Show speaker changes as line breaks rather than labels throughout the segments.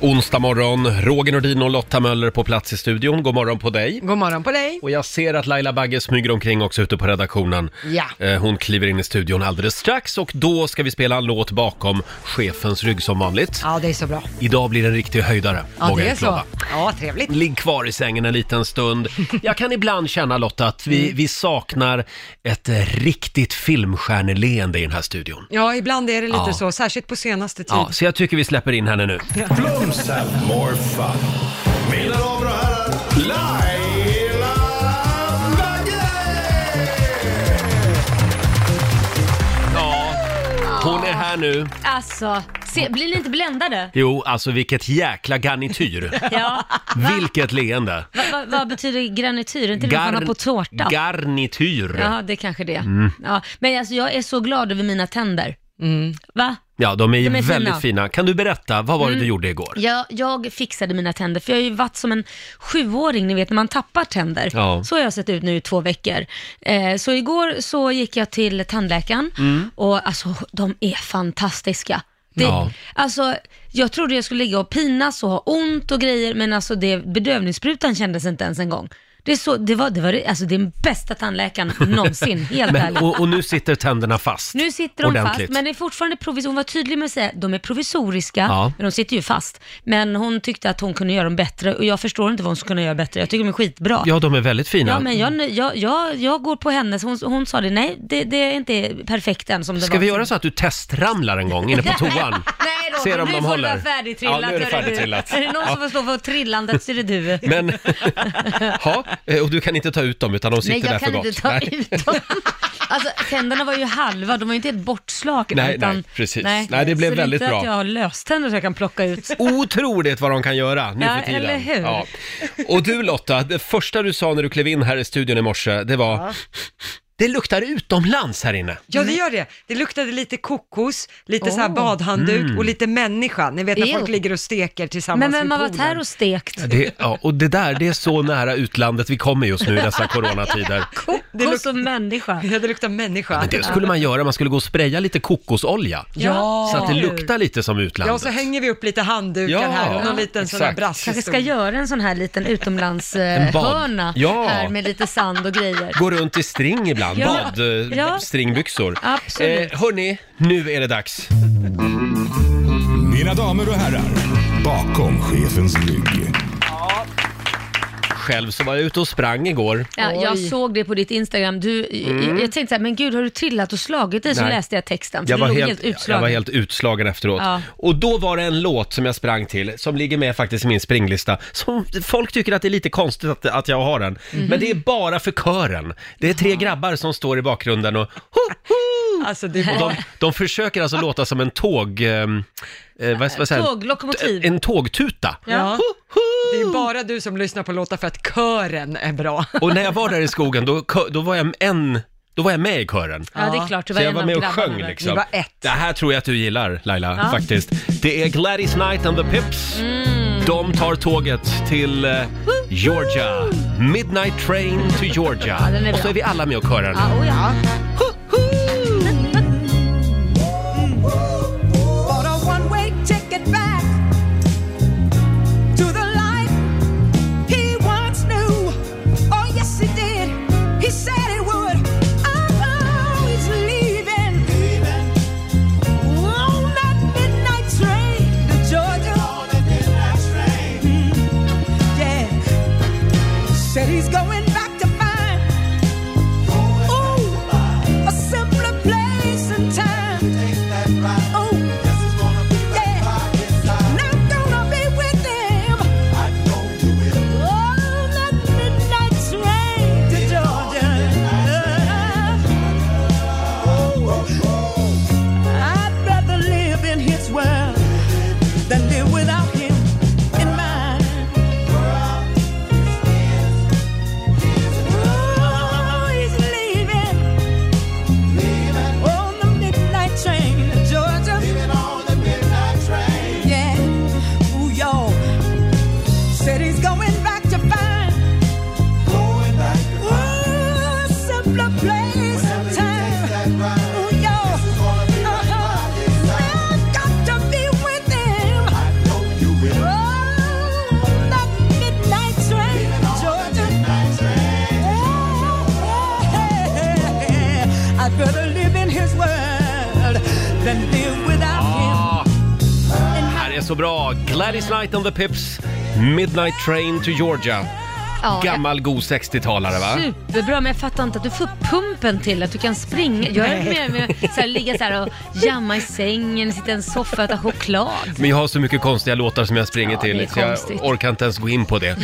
Onsdag morgon, Roger Nordin och Lotta Möller på plats i studion. God morgon på dig.
God morgon på dig.
Och jag ser att Laila Bagge smyger omkring också ute på redaktionen.
Ja.
Eh, Hon kliver in i studion alldeles strax och då ska vi spela en låt bakom chefens rygg som vanligt.
Ja, det är så bra.
Idag blir det en riktig höjdare,
Ja,
vågar
det är
jag
så.
lova.
Ja, trevligt.
Ligg kvar i sängen en liten stund. Jag kan ibland känna Lotta att vi,
Mm.
vi saknar ett eh, riktigt filmstjärneleende i den här studion.
Ja, ibland är det lite
Ja.
så, särskilt på senaste tid.
Ja, så jag tycker vi släpper in henne nu.
Blooms have more fun. Mina damer och herrar, Laila Bagge!
Ja, hon är här nu.
Alltså, se, blir ni inte bländade?
Jo, alltså vilket jäkla garnityr.
Ja.
Vilket leende.
Va, va, vad betyder granityr? Är inte det något man har på tårtan?
Garnityr. Mm.
Ja, det kanske det är. Ja. Men alltså, jag är så glad över mina tänder. Va?
Ja, de är ju
De är fina. Mm.
väldigt fina. Kan du berätta, vad var det du gjorde igår?
Jag, jag fixade mina tänder, för jag har ju varit som en sjuåring, ni vet när man tappar tänder.
Ja.
Så har jag sett ut nu i två veckor. Eh, så igår så gick jag till tandläkaren
Mm.
och alltså de är fantastiska. Det,
Ja.
Alltså, jag trodde jag skulle ligga och pinas och ha ont och grejer, men alltså det, bedövningssprutan kändes inte ens en gång. Det, är så, det var, det var det- alltså den bästa tandläkaren någonsin, helt
Men,
ärligt.
och, och nu sitter tänderna fast.
Nu sitter de
Ordentligt.
fast, men det är fortfarande provis- Hon var tydlig med att säga de är provisoriska,
Ja.
men de sitter ju fast. Men hon tyckte att hon kunde göra dem bättre och jag förstår inte vad hon skulle kunna göra bättre. Jag tycker de är skitbra.
Ja, de är väldigt fina.
Ja, men jag, jag, jag, jag går på hennes, hon, hon sa det, nej det, det är inte perfekt än som det
Ska
var.
vi göra så att du testramlar en gång inne på toan?
Nej då,
Ser om
nu
de
får
håller.
det vara färdigtrillat.
Ja, nu är det
hörru du.
färdigtrillat.
Är det någon som får stå för trillandet så är det du.
Men, ja, eh, och du kan inte ta ut dem utan de sitter
Nej,
där
jag
för
kan
gott.
inte ta
Nej.
ut dem. Alltså, tänderna var ju halva, de var ju inte ett bortslag.
Nej,
utan,
nej, precis. Nej, det blev
så
väldigt
det är inte
bra. Oh,
att jag har löständer så jag kan plocka ut.
Otroligt vad de kan göra nu
Ja,
för tiden.
eller hur?
Och du Lotta, det första du sa när du klev in här i studion i morse, det var Det luktar utomlands här inne.
Ja, det gör det. Det luktade lite kokos, lite så här
Åh.
badhandduk
Mm.
och lite människa. Ni vet när folk
Ew.
ligger och steker tillsammans
Men vem har
vid
varit
poolen.
här och stekt?
Det, ja, och det där, det är så nära utlandet vi kommer just nu i dessa coronatider.
Det
Kokos och människa.
Ja, det luktar människa.
Men det skulle man göra, man skulle gå och spraya lite kokosolja.
Ja.
Så att det
Eller hur?
luktar lite som
Ja, och så
utlandet.
hänger vi upp lite handdukar
Ja,
här och någon liten sån där
exakt.
brasshistoria.
Kanske ska göra en sån här liten
En bad.
utomlandshörna
Ja.
här med lite sand och grejer.
Gå runt i string ibland,
Ja.
bad, eh,
Ja.
stringbyxor.
Absolut.
Eh, hörni, nu är det dags.
Mina damer och herrar, bakom chefens rygg.
Själv så var jag ute och sprang igår.
Ja, jag
Oj.
såg det på ditt Instagram. Du, jag, jag tänkte så här, men gud har du trillat och slagit dig? Så
Mm. Nej.
läste jag texten. För
Jag
du
var,
låg
helt,
helt
jag
utslagen.
var helt utslagen efteråt.
Ja.
Och då var det en låt som jag sprang till, som ligger med faktiskt i min springlista. Som folk tycker att det är lite konstigt att, att jag har den.
Mhm.
Men det är bara för kören. Det är tre grabbar som står i bakgrunden och ho, ho!
Alltså, det
Och
var...
de, de försöker
Ah.
alltså låta som en tåg... ehm, Eh, vad, vad säger jag?
Tåglokomotiv.
En tågtuta.
Ja.
Ho, ho!
Det är bara du som lyssnar på låtar för att kören är bra.
Och när jag var där i skogen, då, kö- då, var, jag en, då var jag med i kören.
Ja, det är klart. Du var
Så jag
en
var
av
med och
grabbarna
sjöng
där.
liksom.
Det var ett.
Det här tror jag att du gillar Laila,
Ja.
faktiskt. Det är Gladys Knight and the Pips.
Mm.
De tar tåget till eh, Georgia. Midnight Train to Georgia.
Ja, den är
och så
bra.
är vi alla med och körar nu.
Ja, oh ja.
Bought a one-way ticket back to the life he once knew. Oh yes, he did. He said it would. Oh, he's leaving. On that midnight train to Georgia. Mm, Yeah. Said he's going back to find. Ooh, a simpler place and time. Oh. Not gonna be with them on that midnight train to Georgia. I'd rather live in his world than live without him in mine. Oh, Uh-huh. Oh, Oh,
så bra. Gladys Knight on the Pips, Midnight Train to Georgia.
Ja, jag-
Gammal god 60-talare va?
Superbra, men jag fattar inte att du får pumpen till att du kan springa. Jag är mer med så här, ligga så här och jamma i sängen, sitta i en soffa och äta choklad.
Men jag har så mycket konstiga låtar som jag springer
Ja, det är
till så jag
konstigt.
orkar inte ens gå in på det.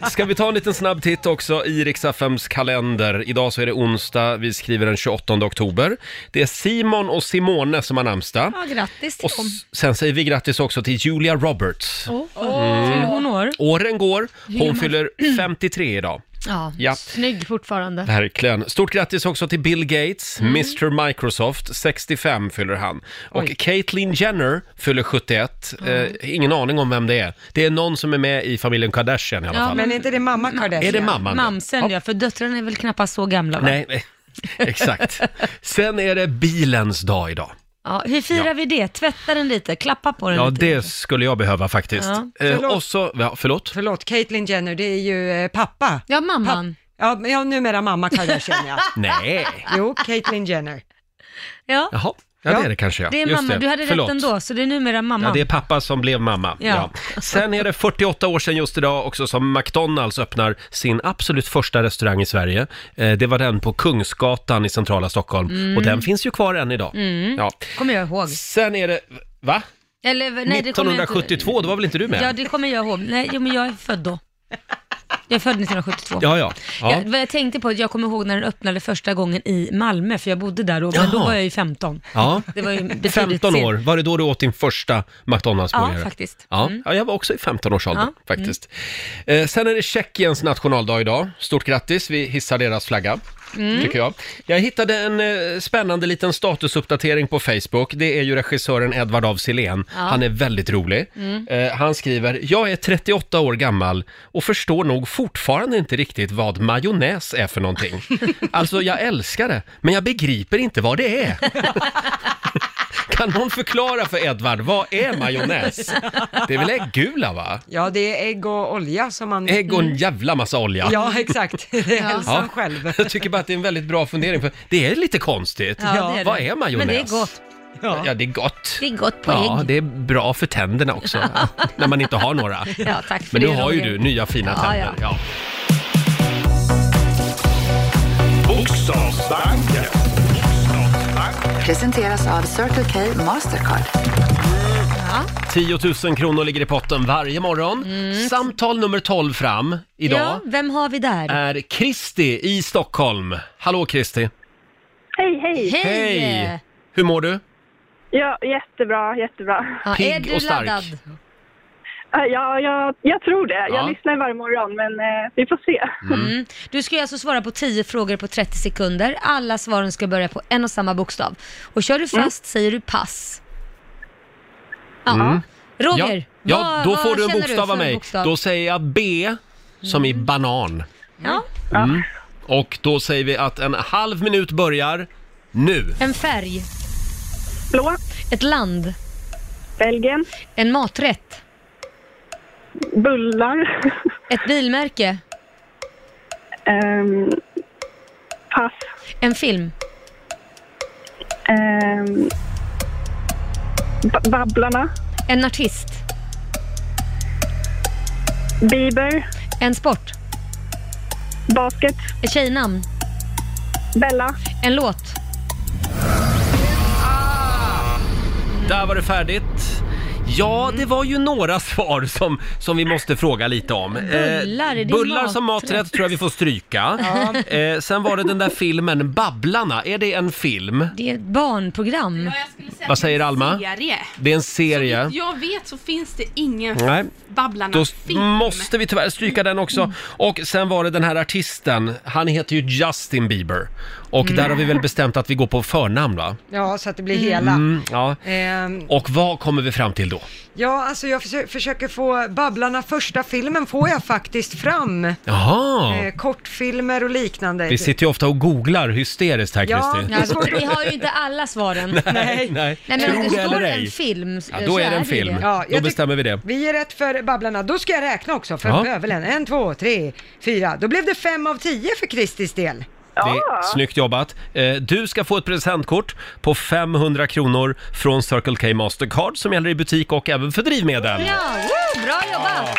Eh, ska vi ta en liten snabb titt också i Riksaffems kalender. Idag så är det onsdag, vi skriver den 28 oktober. Det är Simon och Simone som har namnsdag.
Ja, grattis till
Och
dem.
s- sen säger vi grattis också till Julia Roberts.
Åh,
Mm.
fyller hon år?
Åren går, hon fyller 53 idag.
Ja,
Ja.
snygg fortfarande.
Verkligen. Stort grattis också till Bill Gates,
Mm.
Mr Microsoft, 65 fyller han. Och Caitlyn Jenner fyller 71. Eh, ingen aning om vem det är. Det är någon som är med i familjen Kardashian i alla
Ja,
fall.
Men är inte det mamma Kardashian?
Är det mamman?
Mamsen ja, för döttrarna är väl knappast så gamla va?
Nej, eh, nej. exakt. Sen är det bilens dag idag.
Ja, hur firar vi det? Tvätta den lite, klappa på den
Ja,
lite.
det skulle jag behöva faktiskt.
Ja.
Eh,
Förlåt.
och så, ja, förlåt?
Förlåt, Caitlyn Jenner, det är ju eh, pappa.
Ja, mamman.
Ja, men ja, numera mamma Kardashian ja.
Nej.
Jo, Caitlyn Jenner.
Ja,
Jaha, ja,
Ja.
det är det kanske ja.
det är
Just
mamma. Du hade
Förlåt.
rätt ändå, så det är numera mamma.
Ja, det är pappa som blev mamma. Ja.
Ja.
Sen är det 48 år sedan just idag också som McDonalds öppnar sin absolut första restaurang i Sverige. Eh, Det var den på Kungsgatan i centrala Stockholm och
Mm.
den finns ju kvar än idag. Ja.
kommer jag ihåg.
Sen är det, va?
Eller, nej, det kommer jag inte-
1972, då var väl inte du med?
Ja, det kommer jag ihåg. Nej, jo, men jag är född då. Jag är född 1972.
ja, ja. ja.
Jag, vad jag tänkte på, jag kommer ihåg när den öppnade första gången i Malmö, för jag bodde där då, men då
Jaha.
var jag ju 15.
ja.
Det var ju betydligt
15 år,
sen-
var det då du åt din första McDonalds-burgare?
Ja, faktiskt. Mm.
Ja. ja, jag var också i 15-årsåldern
Ja. Mm.
faktiskt. Eh, sen är det Tjeckiens nationaldag idag. Stort grattis, vi hissar deras flagga,
Mm.
tycker jag. Jag hittade en eh, spännande liten statusuppdatering på Facebook. Det är ju regissören Edvard af Sillén. Han är väldigt
Mm.
rolig. Eh, han skriver, jag är 38 år gammal och förstår nog fortfarande inte riktigt vad majonnäs är för någonting. alltså, jag älskar det, men jag begriper inte vad det är. Kan någon förklara för Edvard, vad är majonnäs? Det är väl äggula va?
Ja, det är ägg och olja som man...
Mm.
Mm.
Ägg och en jävla massa olja.
Ja, exakt. Det är hälsan
Ja.
själv.
Jag tycker bara att det är en väldigt bra fundering, för det är lite konstigt.
Ja, det är
Vad
det.
är majonnäs?
Men det är gott.
Ja, det är gott.
Det är gott på
Ja,
ägg.
det är bra för tänderna också, när man inte har några.
Ja, tack för
Men nu
det,
har ju
Roger.
du nya fina
Ja,
tänder.
ja.
Ja.
Bokstavsbanken.
Presenteras av Circle K Mastercard.
10 000 kronor ligger i potten varje morgon.
Mm.
Samtal nummer 12 fram idag
Ja, vem har vi där?
är Kristi i Stockholm. Hallå Kristi!
Hej, hej!
Hej!
Hej! Hur mår du?
Ja, jättebra, jättebra.
Ja,
Pigg
är du
och stark.
laddad?
Äh, Ja, jag, jag tror det.
Ja.
Jag lyssnar varje morgon, men eh, vi får se.
Mm. Du ska ju alltså svara på 10 frågor på 30 sekunder. Alla svaren ska börja på en och samma bokstav. Och kör du fast säger du pass. Ja. Roger,
Mm. ja, ja
vad-
då
vad
får du en
känner
bokstav
för
av
en
mig.
bokstav? Mm.
Då säger jag B som i banan. Mm.
Ja.
Och då säger vi att en halv minut börjar nu.
En färg,
Blå,
ett land,
Belgien,
en maträtt,
bullar,
ett bilmärke,
ehm, pass,
en film,
ehm, B- Babblarna,
en artist,
Bieber,
en sport,
basket,
ett tjejnamn,
Bella.
en låt.
Där var det färdigt. Ja,
Mm.
det var ju några svar som, som vi måste fråga lite om. Eh,
Bullar, är det
bullar
maträtt?
som maträtt tror jag vi får stryka. Eh, sen var det den där filmen Babblarna. Är det en film?
Det är ett barnprogram.
Ja, jag skulle säga
Vad
att det är
säger
en
Alma?
Serie.
Det är en serie.
Jag vet så finns det ingen
Nej. Då
Babblarna-film.
måste vi tyvärr stryka den också. Och sen var det den här artisten, han heter ju Justin Bieber. Och där har vi väl bestämt att vi går på förnamn va?
Ja, så att det blir hela.
Mm, ja.
Ehm,
Och vad kommer vi fram till då?
ja, alltså jag försö- försöker få Babblarna första filmen får jag faktiskt fram.
Jaha!
Eh, kortfilmer och liknande.
Vi sitter ju ofta och googlar hysteriskt här
Ja,
Kristi.
ja.
Ja, alltså, vi har ju inte alla svaren. Nej,
Nej, nej.
men om det
Tro det eller
står
ej.
en film så-
Ja, då
så
är det en
ju
film.
det.
Ja, jag
då
tyck-
bestämmer vi det.
Vi är rätt för Babblarna. Då ska jag räkna också för
Ja.
bövelen. En, två, tre, fyra. Då blev det fem av tio för Kristis del.
Det är snyggt jobbat. Eh, Du ska få ett presentkort på 500 kronor från Circle K Mastercard som gäller i butik och även för drivmedel.
Ja, woo, bra jobbat!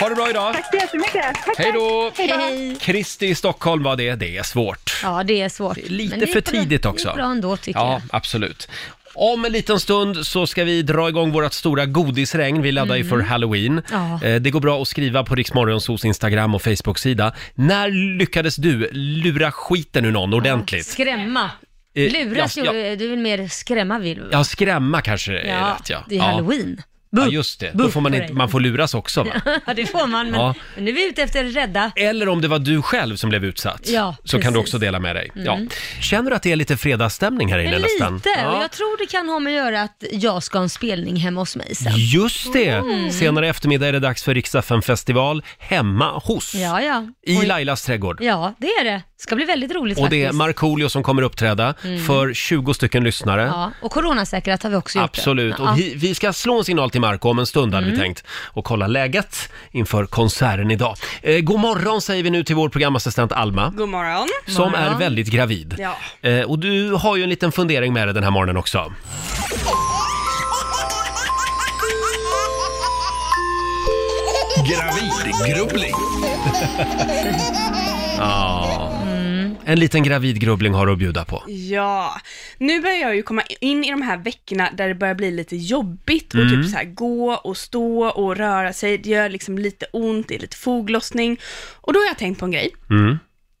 Ha det bra idag!
Tack så jättemycket. Tack,
Hej då!
tack.
Hej!
Kristi i Stockholm var det. Det är svårt.
Ja, det är svårt.
Lite
Men det
för
gick bra-
tidigt
det
också.
gick bra ändå tycker
Ja, absolut. Om en liten stund så ska vi dra igång vårt stora godisregn vi laddar inför Halloween.
Mm. Ja.
Eh, Det går bra att skriva på Riksmorgonsos Instagram och Facebook-sida. När lyckades du lura skiten ur någon
jag.
ordentligt?
Skrämma.
Eh,
Luras
ja,
gjorde
ja,
du vill mer skrämma vill
ja, skrämma kanske är
Ja,
rätt ja.
det är
ja.
halloween.
Ja, just det. Då
Buff
får man,
på
inte,
dig.
man får luras också va?
Ja, det får man, men
Ja.
men nu är vi ute efter rädda.
Eller om det var du själv som blev utsatt.
Ja,
så kan du
precis. Mm.
också dela med dig. Ja. Känner du att det är lite fredagsstämning här inne nästan?
Lite, och jag tror det kan ha med att göra att jag ska ha en spelning hemma hos mig sen.
Just det!
Mm.
Senare i eftermiddag är det dags för Riksdagen festival hemma hos.
Ja, ja.
I
Och-
Lailas trädgård.
Ja, det är det. Ska bli väldigt roligt
Och det är
faktiskt. Mm.
Markoolio som kommer uppträda för 20 stycken lyssnare.
Ja, och coronasäkrat har vi också gjort.
Absolut.
Ja. Mm.
Och vi, vi ska slå en signal till Marco om en stund hade vi tänkt och kolla läget inför konserten idag. Eh, god morgon säger vi nu till vår programassistent Alma
God morgon.
som
morgon.
är väldigt gravid.
Ja.
Eh, och du har ju en liten fundering med dig den här morgonen också.
Gravidgrubbling.
Mm. En liten gravid grubbling har du att bjuda på.
Ja, nu börjar jag ju komma in i de här veckorna där det börjar bli lite jobbigt och
Mm.
typ så här gå och stå och röra sig. Det gör liksom lite ont, det är lite foglossning. Och då har jag tänkt på en grej.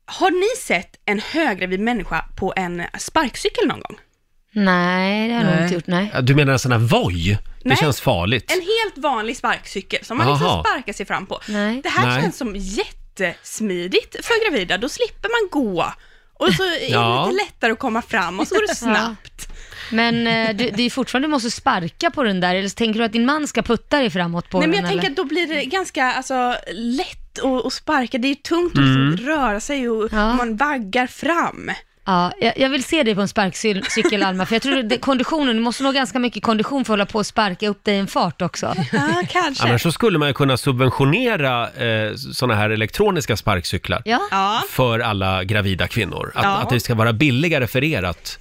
Har ni sett en höggravid människa på en sparkcykel någon gång?
Nej, det har jag nog
Nej.
inte gjort. Nej.
Ja, Du menar en sån här voj? Det
Nej.
känns farligt.
En helt vanlig sparkcykel som man
Jaha.
liksom sparkar sig fram på.
Nej.
Det här
Nej.
känns som jättesmidigt för gravida. Då slipper man gå och så är
Ja.
det lite lättare att komma fram och så går det snabbt.
Men eh, du, det är fortfarande du måste sparka på den där, eller så tänker du att din man ska putta dig framåt på
Nej, men
den?
jag tänker
eller?
att då blir det ganska alltså, lätt att, att sparka. Det är ju tungt att
Mm.
liksom röra sig och
Ja.
man vaggar fram.
Ja, jag, jag vill se dig på en sparkcykel, Alma, för jag tror det, konditionen, du måste nog ha ganska mycket kondition för att hålla på och sparka upp dig i en fart också.
Ja, kanske.
Annars så skulle man ju kunna subventionera eh, sådana här elektroniska sparkcyklar.
Ja,
Ja.
För alla gravida kvinnor. Att,
Ja.
att det ska vara billigare för er att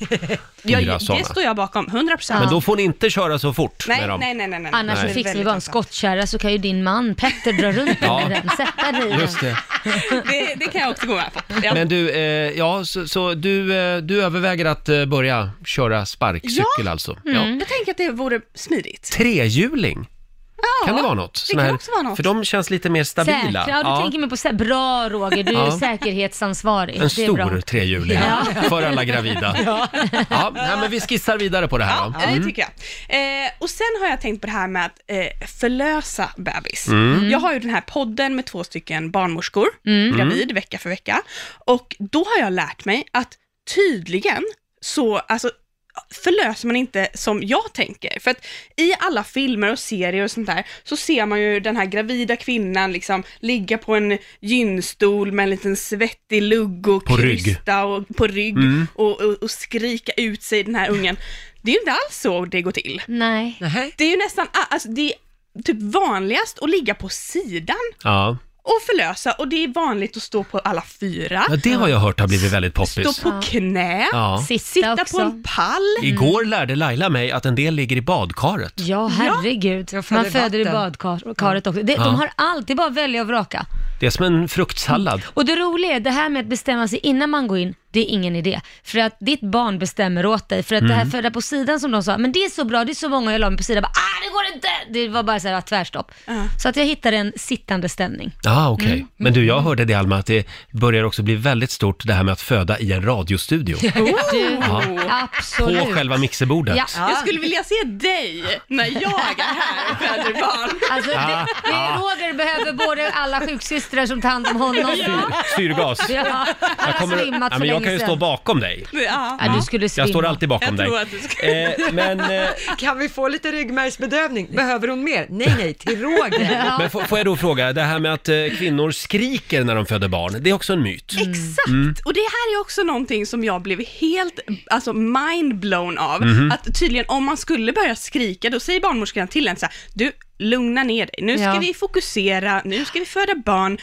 Jag,
hyra
det
sådana.
står jag bakom, 100 procent.
Men då får ni inte köra så fort
Nej,
med dem.
nej, nej, nej, nej.
annars
Det
så
är
fixar vi
väldigt
bara en
ensamt.
skottkärra så kan ju din man Petter dra runt den
Ja.
med den, sätta dig i den.
Just det.
Det, det kan jag också gå med på. Ja.
Men du, eh, ja, så, så du, eh, du överväger att eh, börja köra sparkcykel
Ja. Mm.
alltså?
Mm.
Ja.
Jag tänker att det vore smidigt.
Trehjuling,
Ja,
kan det vara något?
Det
Såna
kan
här-
också vara något.
För de känns lite mer stabila.
Säkra, ja du tänker mig på sä- bra Roger, du är
Ja.
säkerhetsansvarig.
En
det är bra.
stor trehjuling för alla gravida. Ja. nej, men vi skissar vidare på det här.
Ja,
då. Mm.
det tycker jag. Eh, och sen har jag tänkt på det här med att eh, förlösa bebis.
Mm.
Jag har ju den här podden med två stycken barnmorskor,
Mm.
gravid vecka för vecka. Och då har jag lärt mig att tydligen så, alltså förlöser man inte som jag tänker. För att i alla filmer och serier och sånt där så ser man ju den här gravida kvinnan liksom ligga på en gynstol med en liten svettig lugg och
På rygg. Mm.
krysta och på rygg och, och, och skrika ut sig den här ungen. Det är ju inte alls så det går till.
Nej.
Det är ju nästan, a- alltså det är typ vanligast att ligga på sidan
Ja.
och förlösa och det är vanligt att stå på alla fyra,
ja, det har jag hört har blivit väldigt
stå
poppis.
på knä,
Ja.
Sitta,
sitta
också.
på en pall.
Igår lärde Laila mig att en del ligger i badkaret.
Ja, herregud.
Jag föder
Man föder i
vatten.
badkaret också. Det, De har alltid bara att välja och vraka.
Det är som en fruktsallad.
Och det roliga är, det här med att bestämma sig innan man går in, det är ingen idé. För att ditt barn bestämmer åt dig. För att
Mm.
det här födda på sidan som de sa, men det är så bra, det är så många jag la mig på sidan, bara, ah det går inte! Det var bara så här, tvärstopp. Så att jag hittade en sittande ställning.
Ja, ah, okej.
Mm.
Men du, jag hörde det Alma, att det börjar också bli väldigt stort det här med att föda i en radiostudio.
Du,
På
absolut.
själva mixerbordet.
Ja.
Oh. Jag skulle vilja se dig när jag är här och föder barn.
Alltså, det, det är Roger behöver både alla sjuksystrar som tar hand om honom.
Syr- Syrgas.
Ja, Alltså, han har svimmat
ja,
för
men jag
länge
kan ju
sedan.
stå bakom dig.
Ja.
Ja, du skulle svimma.
Jag står alltid bakom
Jag
dig.
tror att du ska-
Eh, men eh,
Kan vi få lite ryggmärgsbedövning? Behöver hon mer? Nej, nej, till Roger.
Men får, får jag då fråga, det här med att eh, kvinnor skriker när de föder barn, det är också en myt?
Exakt!
Mm.
Och det här är också någonting som jag blev helt alltså, mindblown av.
Mhm.
Att tydligen om man skulle börja skrika, då säger barnmorskan till en så här, du lugna ner dig, nu ska
Ja.
vi fokusera, nu ska vi föda barn.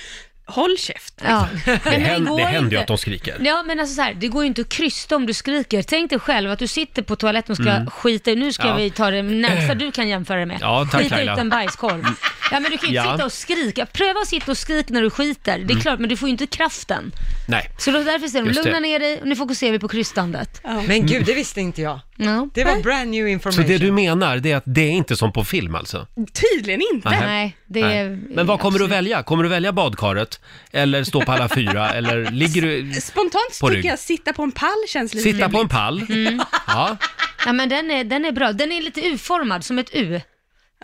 håll käft.
Ja.
Det,
men
händer,
går
det händer ju
inte.
att de skriker.
Ja men alltså så här, det går ju inte att krysta om du skriker. Tänk dig själv att du sitter på toaletten och ska skita i- nu ska
Mm. Ja.
vi ta det närmsta du kan jämföra det med.
Ja, tack,
skita
Laila.
ut en bajskorv. Ja men du kan ju inte
Ja.
sitta och skrika. Pröva att sitta och skrika när du skiter, det är klart men du får ju inte kraften.
Nej.
Så då därför säger de,
Just det.
lugna ner dig och nu fokuserar vi på krystandet.
Men gud, det visste inte jag.
Ja.
Det var brand new
Så
information.
det du menar, det är att det är inte som på film alltså?
Tydligen inte.
Nej.
Nej, det är...
Nej. Men vad kommer du välja? Kommer du välja badkaret? Eller stå på alla fyra? Eller ligger du...
Spontant
På
tycker
rygg.
jag sitta på en pall känns lite
Sitta på
trevligt.
en pall?
Mm.
Ja.
Ja men den är, den är bra. Den är lite U-formad, som ett U.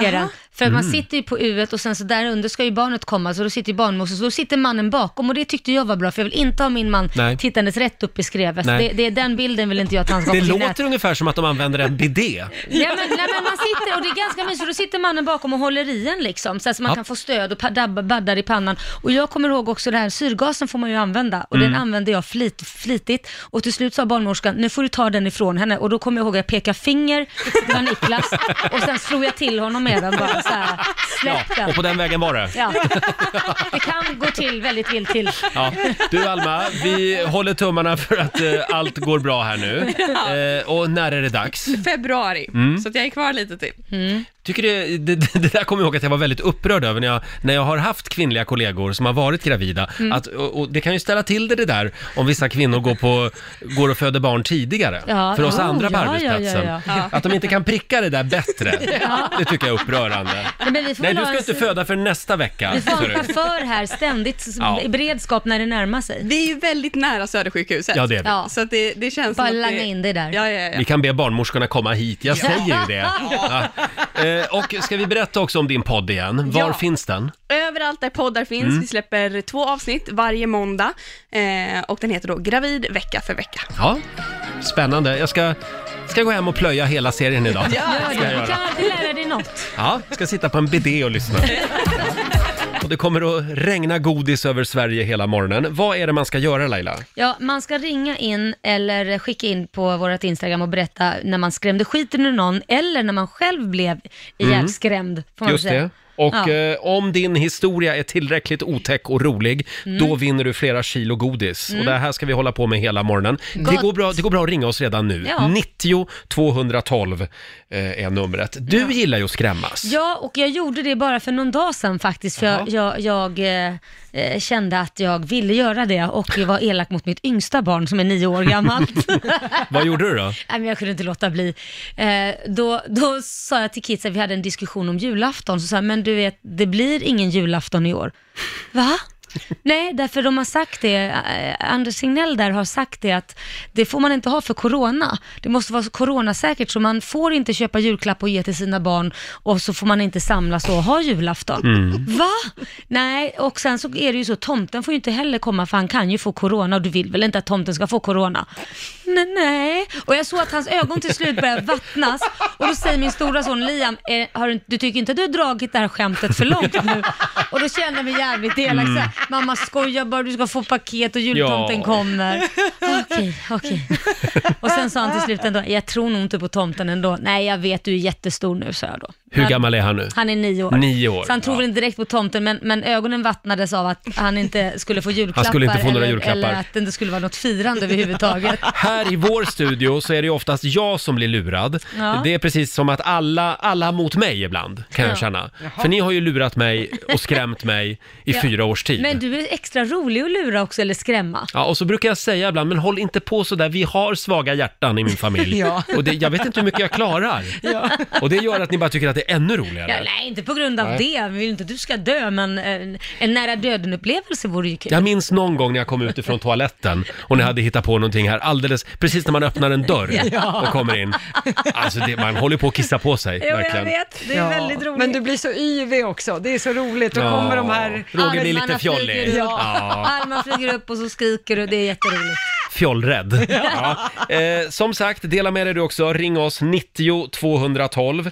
Är den. För att
Mm.
man sitter ju på U och sen så där under ska ju barnet komma, så då sitter ju barnmorskan, så då sitter mannen bakom och det tyckte jag var bra, för jag vill inte ha min man
Nej.
tittandes rätt upp i skrevet.
Nej.
Det, det är den bilden vill inte jag att han ska ha
Det
på sin nät.
låter ungefär som att de använder en bidé.
Nej men, nej men man sitter, och det är ganska mysigt, för då sitter mannen bakom och håller i en liksom, så att man
Ja.
kan få stöd och pa- dabba- baddar i pannan. Och jag kommer ihåg också det här, syrgasen får man ju använda, och
Mm.
den använde jag flit, flitigt. Och till slut sa barnmorskan, nu får du ta den ifrån henne. Och då kommer jag ihåg att jag pekade finger, det var Niklas, och sen slog jag till honom med den bara så här,
Ja,
släpp den.
och på den vägen var det.
Ja. Det kan gå till väldigt vilt till.
Ja. Du Alma, vi håller tummarna för att eh, allt går bra här nu. Eh, och när är det dags?
Februari,
Mm.
så att jag är kvar lite till.
Tycker det, det, det där kommer jag ihåg att jag var väldigt upprörd över när jag, när jag har haft kvinnliga kollegor som har varit gravida.
Mm.
Att, och, och det kan ju ställa till det, det där om vissa kvinnor går, på, går och föder barn tidigare.
Ja,
för oss
ja,
andra på
ja, ja,
arbetsplatsen.
ja,
Att de inte kan pricka det där bättre. Det tycker jag är upprörande.
Nej, men vi får
Nej,
väl
du
ha
ska
en-
inte föda för nästa vecka.
Vi får ha
ser
en
det ut.
chaufför här ständigt,
Ja.
i beredskap när det närmar sig.
Vi är ju väldigt nära Södersjukhuset.
Ja, det är vi.
Ja.
Så att det, det känns
Bara
som att
langa in dig där.
Ja, ja, ja.
Vi kan be barnmorskorna komma hit, jag säger ju det. Ja. Eh, Och ska vi berätta också om din podd igen? Var
Ja.
finns den?
Överallt där poddar finns.
Mm.
Vi släpper två avsnitt varje måndag eh, och den heter då Gravid vecka för vecka.
Ja, spännande. Jag ska, ska gå hem och plöja hela serien idag.
Gör
Ska jag
det.
göra.
Du kan alltid lära dig något.
Ja, ska sitta på en bidé och lyssna. Och det kommer att regna godis över Sverige hela morgonen. Vad är det man ska göra Laila?
Ja, man ska ringa in eller skicka in på vårt Instagram och berätta när man skrämde skiten ur någon eller när man själv blev ihjälskrämd. Får man
Mm. Just
säga.
det. Och
Ja.
eh, om din historia är tillräckligt otäck och rolig,
Mm.
då vinner du flera kilo godis. Och det här ska vi hålla på med hela morgonen. Det
Gott.
går, bra, det går bra att ringa oss redan nu.
Ja.
90 212 eh, är numret. Du gillar ju att skrämmas.
Ja, och jag gjorde det bara för någon dag sedan faktiskt, för jag, jag, jag eh, eh, kände att jag ville göra det och jag var elak mot mitt yngsta barn som är nio år gammalt.
Vad gjorde du då?
Nej, men jag kunde inte låta bli. Eh, då, då sa jag till kidsen, vi hade en diskussion om julafton, så sa jag, men du vet, det blir ingen julafton i år. Va? Nej, därför de har sagt det, eh, Anders Signell där har sagt det att det får man inte ha för corona. Det måste vara så coronasäkert, så man får inte köpa julklapp och ge till sina barn och så får man inte samlas och ha julafton.
Mm.
Va? Nej, och sen så är det ju så, tomten får ju inte heller komma för han kan ju få corona och du vill väl inte att tomten ska få corona? Nej, nej. Och jag såg att hans ögon till slut började vattnas och då säger min stora son Liam, eh, har du, du tycker inte att du har dragit det här skämtet för långt nu? Och då kände jag mig jävligt elak. så här, Mamma skojar bara, du ska få paket och jultomten
Mm. Ja.
kommer. Okej, okej. Och sen sa han till slut ändå, jag tror nog inte på tomten ändå. Nej, jag vet, du är jättestor nu, sa jag då.
Hur
Men-
gammal är han nu?
han är nio år.
Nio år,
Så han tror
ja.
väl inte direkt på tomten, men, men ögonen vattnades av att han inte skulle få julklappar.
Han skulle inte få några
eller,
julklappar.
Eller att det inte skulle vara något firande överhuvudtaget.
Här i vår studio så är det ju oftast jag som blir lurad.
Ja.
Det är precis som att alla, alla mot mig ibland, kan jag
Ja.
känna. För ni har ju lurat mig och skrämt mig i fyra års tid.
Men du är extra rolig att lura också, eller skrämma.
Ja, och så brukar jag säga ibland, men håll inte på sådär, vi har svaga hjärtan i min familj.
Ja.
Och det, jag vet inte hur mycket jag klarar. Och det gör att ni bara tycker att det är ännu
Ja,
roligare.
nej, inte på grund av det. Vi vill inte att du ska dö, men eh, en, en nära döden-upplevelse vore ju kul.
Jag minns någon gång när jag kom ut ifrån toaletten och ni hade hittat på någonting här alldeles precis när man öppnar en dörr och kommer in. Alltså det, man håller på att kissa på sig.
Jo, jag
verkligen.
vet. Det är
Ja.
väldigt roligt.
Men du blir så yvig också. Det är så roligt. Då kommer de här...
Roger blir
Almarna
lite fjollig.
flyger upp.
Ja.
Alma flyger upp och så skriker du, det är jätteroligt.
fjollrädd. Ja. Eh, som sagt, dela med dig du också. Ring oss 90 212. Eh,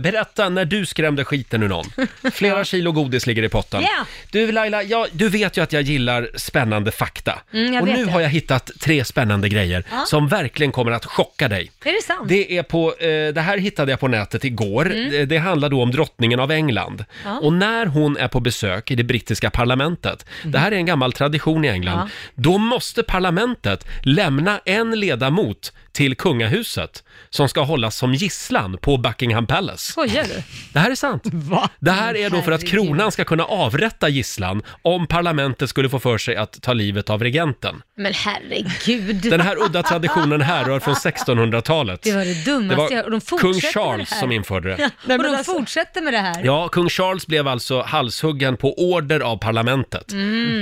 berätta när du skrämde skiten ur någon. Flera kilo godis ligger i potten.
Ja.
Du Laila, ja, du vet ju att jag gillar spännande fakta.
Mm, jag
Och
vet
nu
det.
har jag hittat tre spännande grejer
Ja.
som verkligen kommer att chocka dig.
Är det sant?
Det, är på, eh, det här hittade jag på nätet igår. Eh, Det, det handlar då om drottningen av England.
Mm. Ja.
Och när hon är på besök i det brittiska parlamentet, det här är en gammal tradition i England,
Mm. Ja.
då måste parlamentet lämna en ledamot till kungahuset som ska hållas som gisslan på Buckingham Palace.
Skojar du?
Det här är sant. Det här är då för att
Herregud.
kronan ska kunna avrätta gisslan om parlamentet skulle få för sig att ta livet av regenten.
Men herregud.
Den här udda traditionen härrör från 1600-talet.
Det var det dummaste jag- och de
var
fortsätter
kung
med det
Charles
här.
som införde det.
och de fortsätter med det här.
Ja, kung Charles blev alltså halshuggen på order av parlamentet.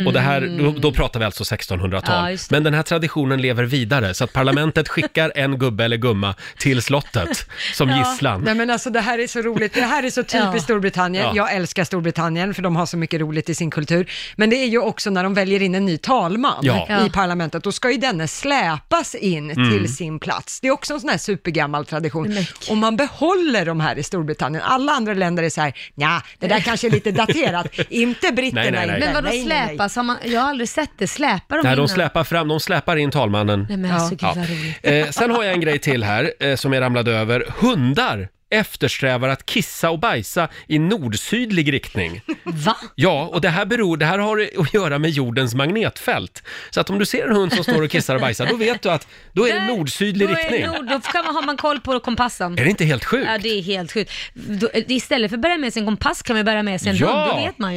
Och det här, då, då pratar vi alltså 1600-tal.
Mm. Ja, just det.
Men den här traditionen lever vidare, så att parlamentet skickar en gubbe eller gumma till slottet som gisslan.
Nej men alltså det här är så roligt, det här är så typiskt
Ja.
Storbritannien.
Ja.
Jag älskar Storbritannien för de har så mycket roligt i sin kultur. Men det är ju också när de väljer in en ny talman
Ja. Mm.
Ja.
i parlamentet, då ska ju denne släpas in till sin plats. Det är också en sån här supergammal tradition.
Men-
Och man behåller de här i Storbritannien. Alla andra länder är så här, ja, det där kanske är lite daterat. inte britterna.
Nej, nej, nej.
Inte.
Men vadå
Nej, nej, nej.
släpas? Har man, jag har aldrig sett det. Släpar
Nej,
de
de
innan?
släpar fram, de släpar in talmannen.
Nej men alltså gud vad roligt.
Eh, sen har jag en grej till här eh, som jag ramlade över. Hundar eftersträvar att kissa och bajsa i nordsydlig riktning.
Va?
Ja, och det här, beror, det här har att göra med jordens magnetfält. Så att om du ser en hund som står och kissar och bajsar, då vet du att då är det
Där-
nordsydlig
då är
riktning.
Nord, då kan man, har man koll på kompassen.
Är det inte helt sjukt?
Ja, det är helt sjukt. Då, eh, istället för att bära med sig en kompass kan man bära med sig en
Ja.
hund, det vet man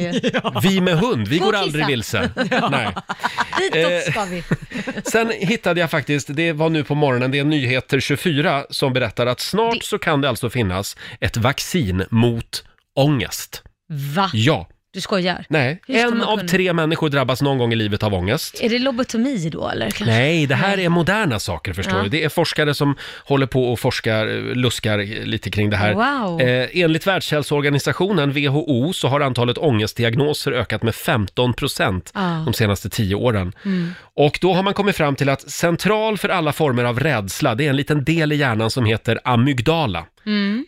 ju.
Vi med hund, vi
Gå
går
och
aldrig
kissa.
vilse. Nej. Eh.
Ditåt ska vi.
Sen hittade jag faktiskt, det var nu på morgonen, det är Nyheter 24 som berättar att snart så kan det alltså finnas ett vaccin mot ångest.
Va?
Ja,
Du skojar?
nej.
Ah. Hur ska
En
man
av
kunna?
tre människor drabbas någon gång i livet av ångest.
Är det lobotomi då eller? kanske?
Nej, det här är moderna saker förstår
Ja.
du. Det är forskare som håller på och forskar, eh, luskar eh, lite kring det här.
Wow.
Eh, enligt Världshälsoorganisationen, WHO, så har antalet ångestdiagnoser ökat med 15 procent
Ja.
de senaste tio åren. Och då har man kommit fram till att central för alla former av rädsla, det är en liten del i hjärnan som heter amygdala.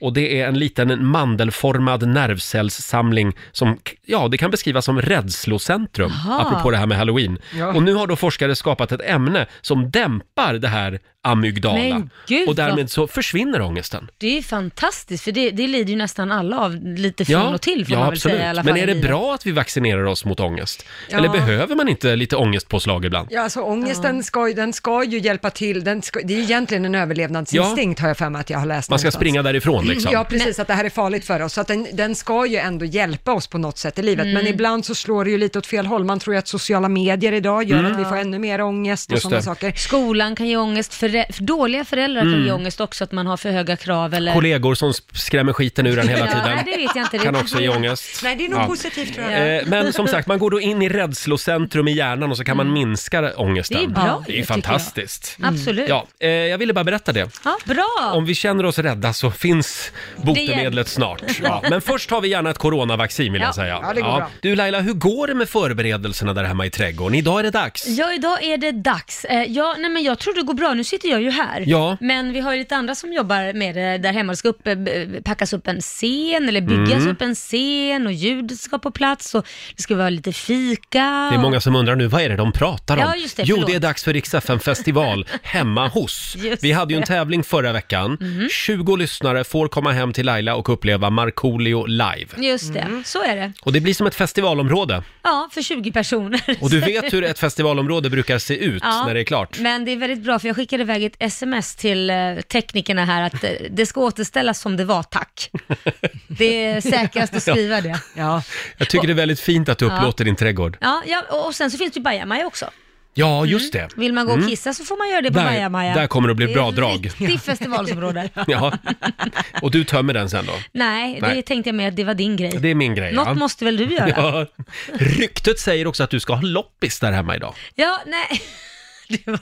Och det är en liten mandelformad nervcellssamling som, k- ja, det kan beskrivas som rädslocentrum,
Aha.
apropå det här med halloween.
Ja.
Och nu har då forskare skapat ett ämne som dämpar det här amygdala.
Men gud,
Och därmed
vad-
så försvinner ångesten.
Det är ju fantastiskt för det, det lider ju nästan alla av lite från och till får
ja,
man väl
absolut.
säga i alla fall.
Men är
i
det
livet.
bra att vi vaccinerar oss mot ångest?
Ja.
Eller behöver man inte lite ångestpåslag ibland?
Ja, alltså ångesten ska, ju- den ska ju hjälpa till. Den ska, det är egentligen en överlevnadsinstinkt har jag för mig att jag har läst
Man ska
någonstans. Mm,
springa därifrån liksom.
Ja, precis, att det här är farligt för oss. Så att den, den ska ju ändå hjälpa oss på något sätt i livet. Men ibland så slår det ju lite åt fel håll. Man tror ju att sociala medier idag gör att vi får ännu mer ångest och
Mm. Just det.
sådana saker.
Skolan kan ge ångest, förä- för dåliga föräldrar kan ge ångest också att man har för höga krav eller...
Mm. Kollegor som sp- skrämmer skiten ur en hela
Ja, nej, det
tiden
vet jag inte. Det
kan
är-
också ge ångest.
Nej, det är nog
Ja.
positivt tror jag.
Eh, Men som sagt, man går då in i rädslocentrum i hjärnan och så kan man minska ångesten.
Mm. Det är bra,
Det är ju
tycker jag. Mm.
fantastiskt.
Absolut.
Ja, eh, jag ville bara berätta det.
Ja, bra!
Om vi känner oss rädda så finns
Det
botemedlet snart. Ja. Men först har vi gärna ett coronavaccin vill
Ja.
jag säga.
Ja, det går bra.
Du Laila, hur går det med förberedelserna där hemma i trädgården? Idag är det dags.
Ja, idag är det dags. Eh, Ja, nej, men jag tror det går bra. Nu sitter jag ju här.
Ja.
Men vi har ju lite andra som jobbar med det där hemma. Det ska upp, eh, b- packas upp en scen, eller byggas
Mm.
upp en scen och ljudet ska på plats och det ska vara lite fika.
Det är många som undrar nu, vad är det de pratar om?
Ah. Ja, just det,
jo,
förlåt.
det är dags för Rix festival hemma hos.
Just
Vi hade ju en
det. Mhm.
tävling förra veckan. 20 lyssnare får komma hem till Laila och uppleva Markoolio live.
Och... Just det,
Mm.
så är det.
Och det blir som ett festivalområde.
Ja, för 20 personer.
Och du vet hur ett festivalområde brukar se ut
Ja,
när det är klart.
Men det är väldigt bra, för jag skickade iväg ett sms till eh, teknikerna här att eh, det ska återställas som det var, tack. Det är säkrast att skriva det.
Ja.
Jag tycker det är väldigt fint att du upplåter din trädgård.
Ja, ja, och- och sen så finns det ju Bajamaja också.
Ja, just det.
Vill man gå och kissa så får man göra det Mm. på
Mm. Där-
Bajamaja.
där kommer det bli bra
Det är
drag.
ett riktigt festivalområde.
Ja. Och du tömmer den sen då?
Nej,
Nej.
det tänkte jag med att det var din grej.
Det är min grej.
Något
ja.
måste väl du göra? Ja,
Ja. Ryktet säger också att du ska ha loppis där hemma idag.
nej. Det var,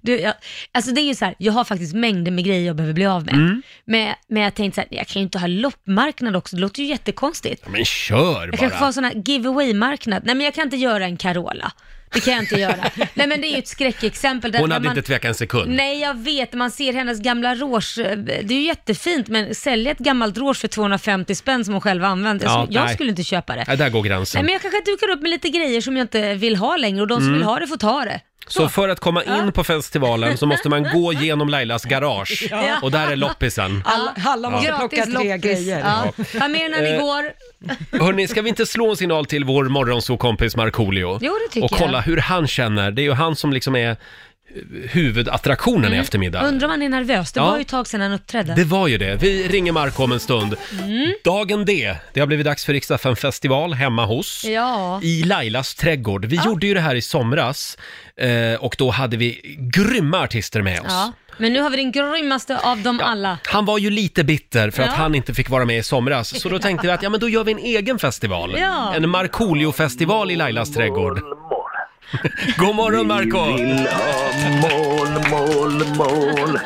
du, jag, alltså det är ju så här, jag har faktiskt mängder med grejer jag behöver bli av med.
Mm.
Men, men jag tänkte så här, jag kan ju inte ha loppmarknad också, det låter ju jättekonstigt.
Men kör
Jag kanske får
bara!
ha sån här giveaway-marknad. Nej men jag kan inte göra en Carola. Det kan jag inte göra. Nej men det är ju ett skräckexempel. där-
Hon
där
hade
man,
inte tvekat en sekund.
Nej jag vet, man ser hennes gamla rouge. Det är ju jättefint men sälja ett gammalt rouge för 250 spänn som hon själv har använt.
Ja,
jag
nej.
skulle inte köpa det.
Nej, där går
Nej,
gränsen.
men jag kanske dukar upp med lite grejer som jag inte vill ha längre och de som vill ha det får ta det.
Mm. Så för att komma in på festivalen så måste man gå genom Lailas garage och där är loppisen.
Alla, alla måste plocka
Gratis
tre
loppis.
grejer.
Ja. Vad menar ni
Eh,
går?
Hörni, ska vi inte slå en signal till vår morgonsåkompis Markoolio?
Jo, det tycker
Och kolla
jag.
hur han känner. Det är ju han som liksom är huvudattraktionen
Mm.
i eftermiddag.
Undrar om han är nervös. Det
Ja.
var ju ett tag sedan han uppträdde.
Det var ju det. Vi ringer Marco om en stund.
Mm.
Dagen D. Det har blivit dags för Rix FM festival hemma hos.
Ja.
I Lailas trädgård. Vi gjorde ju det här i somras eh, och då hade vi grymma artister med oss.
ja. Men nu har vi den grymmaste av dem alla.
Han var ju lite bitter för att
Ja.
han inte fick vara med i somras, så då tänkte vi att ja, men då gör vi en egen festival.
Ja.
En Markoolio-festival i Lailas trädgård. God morgon Marco!
Mål, mål, mål.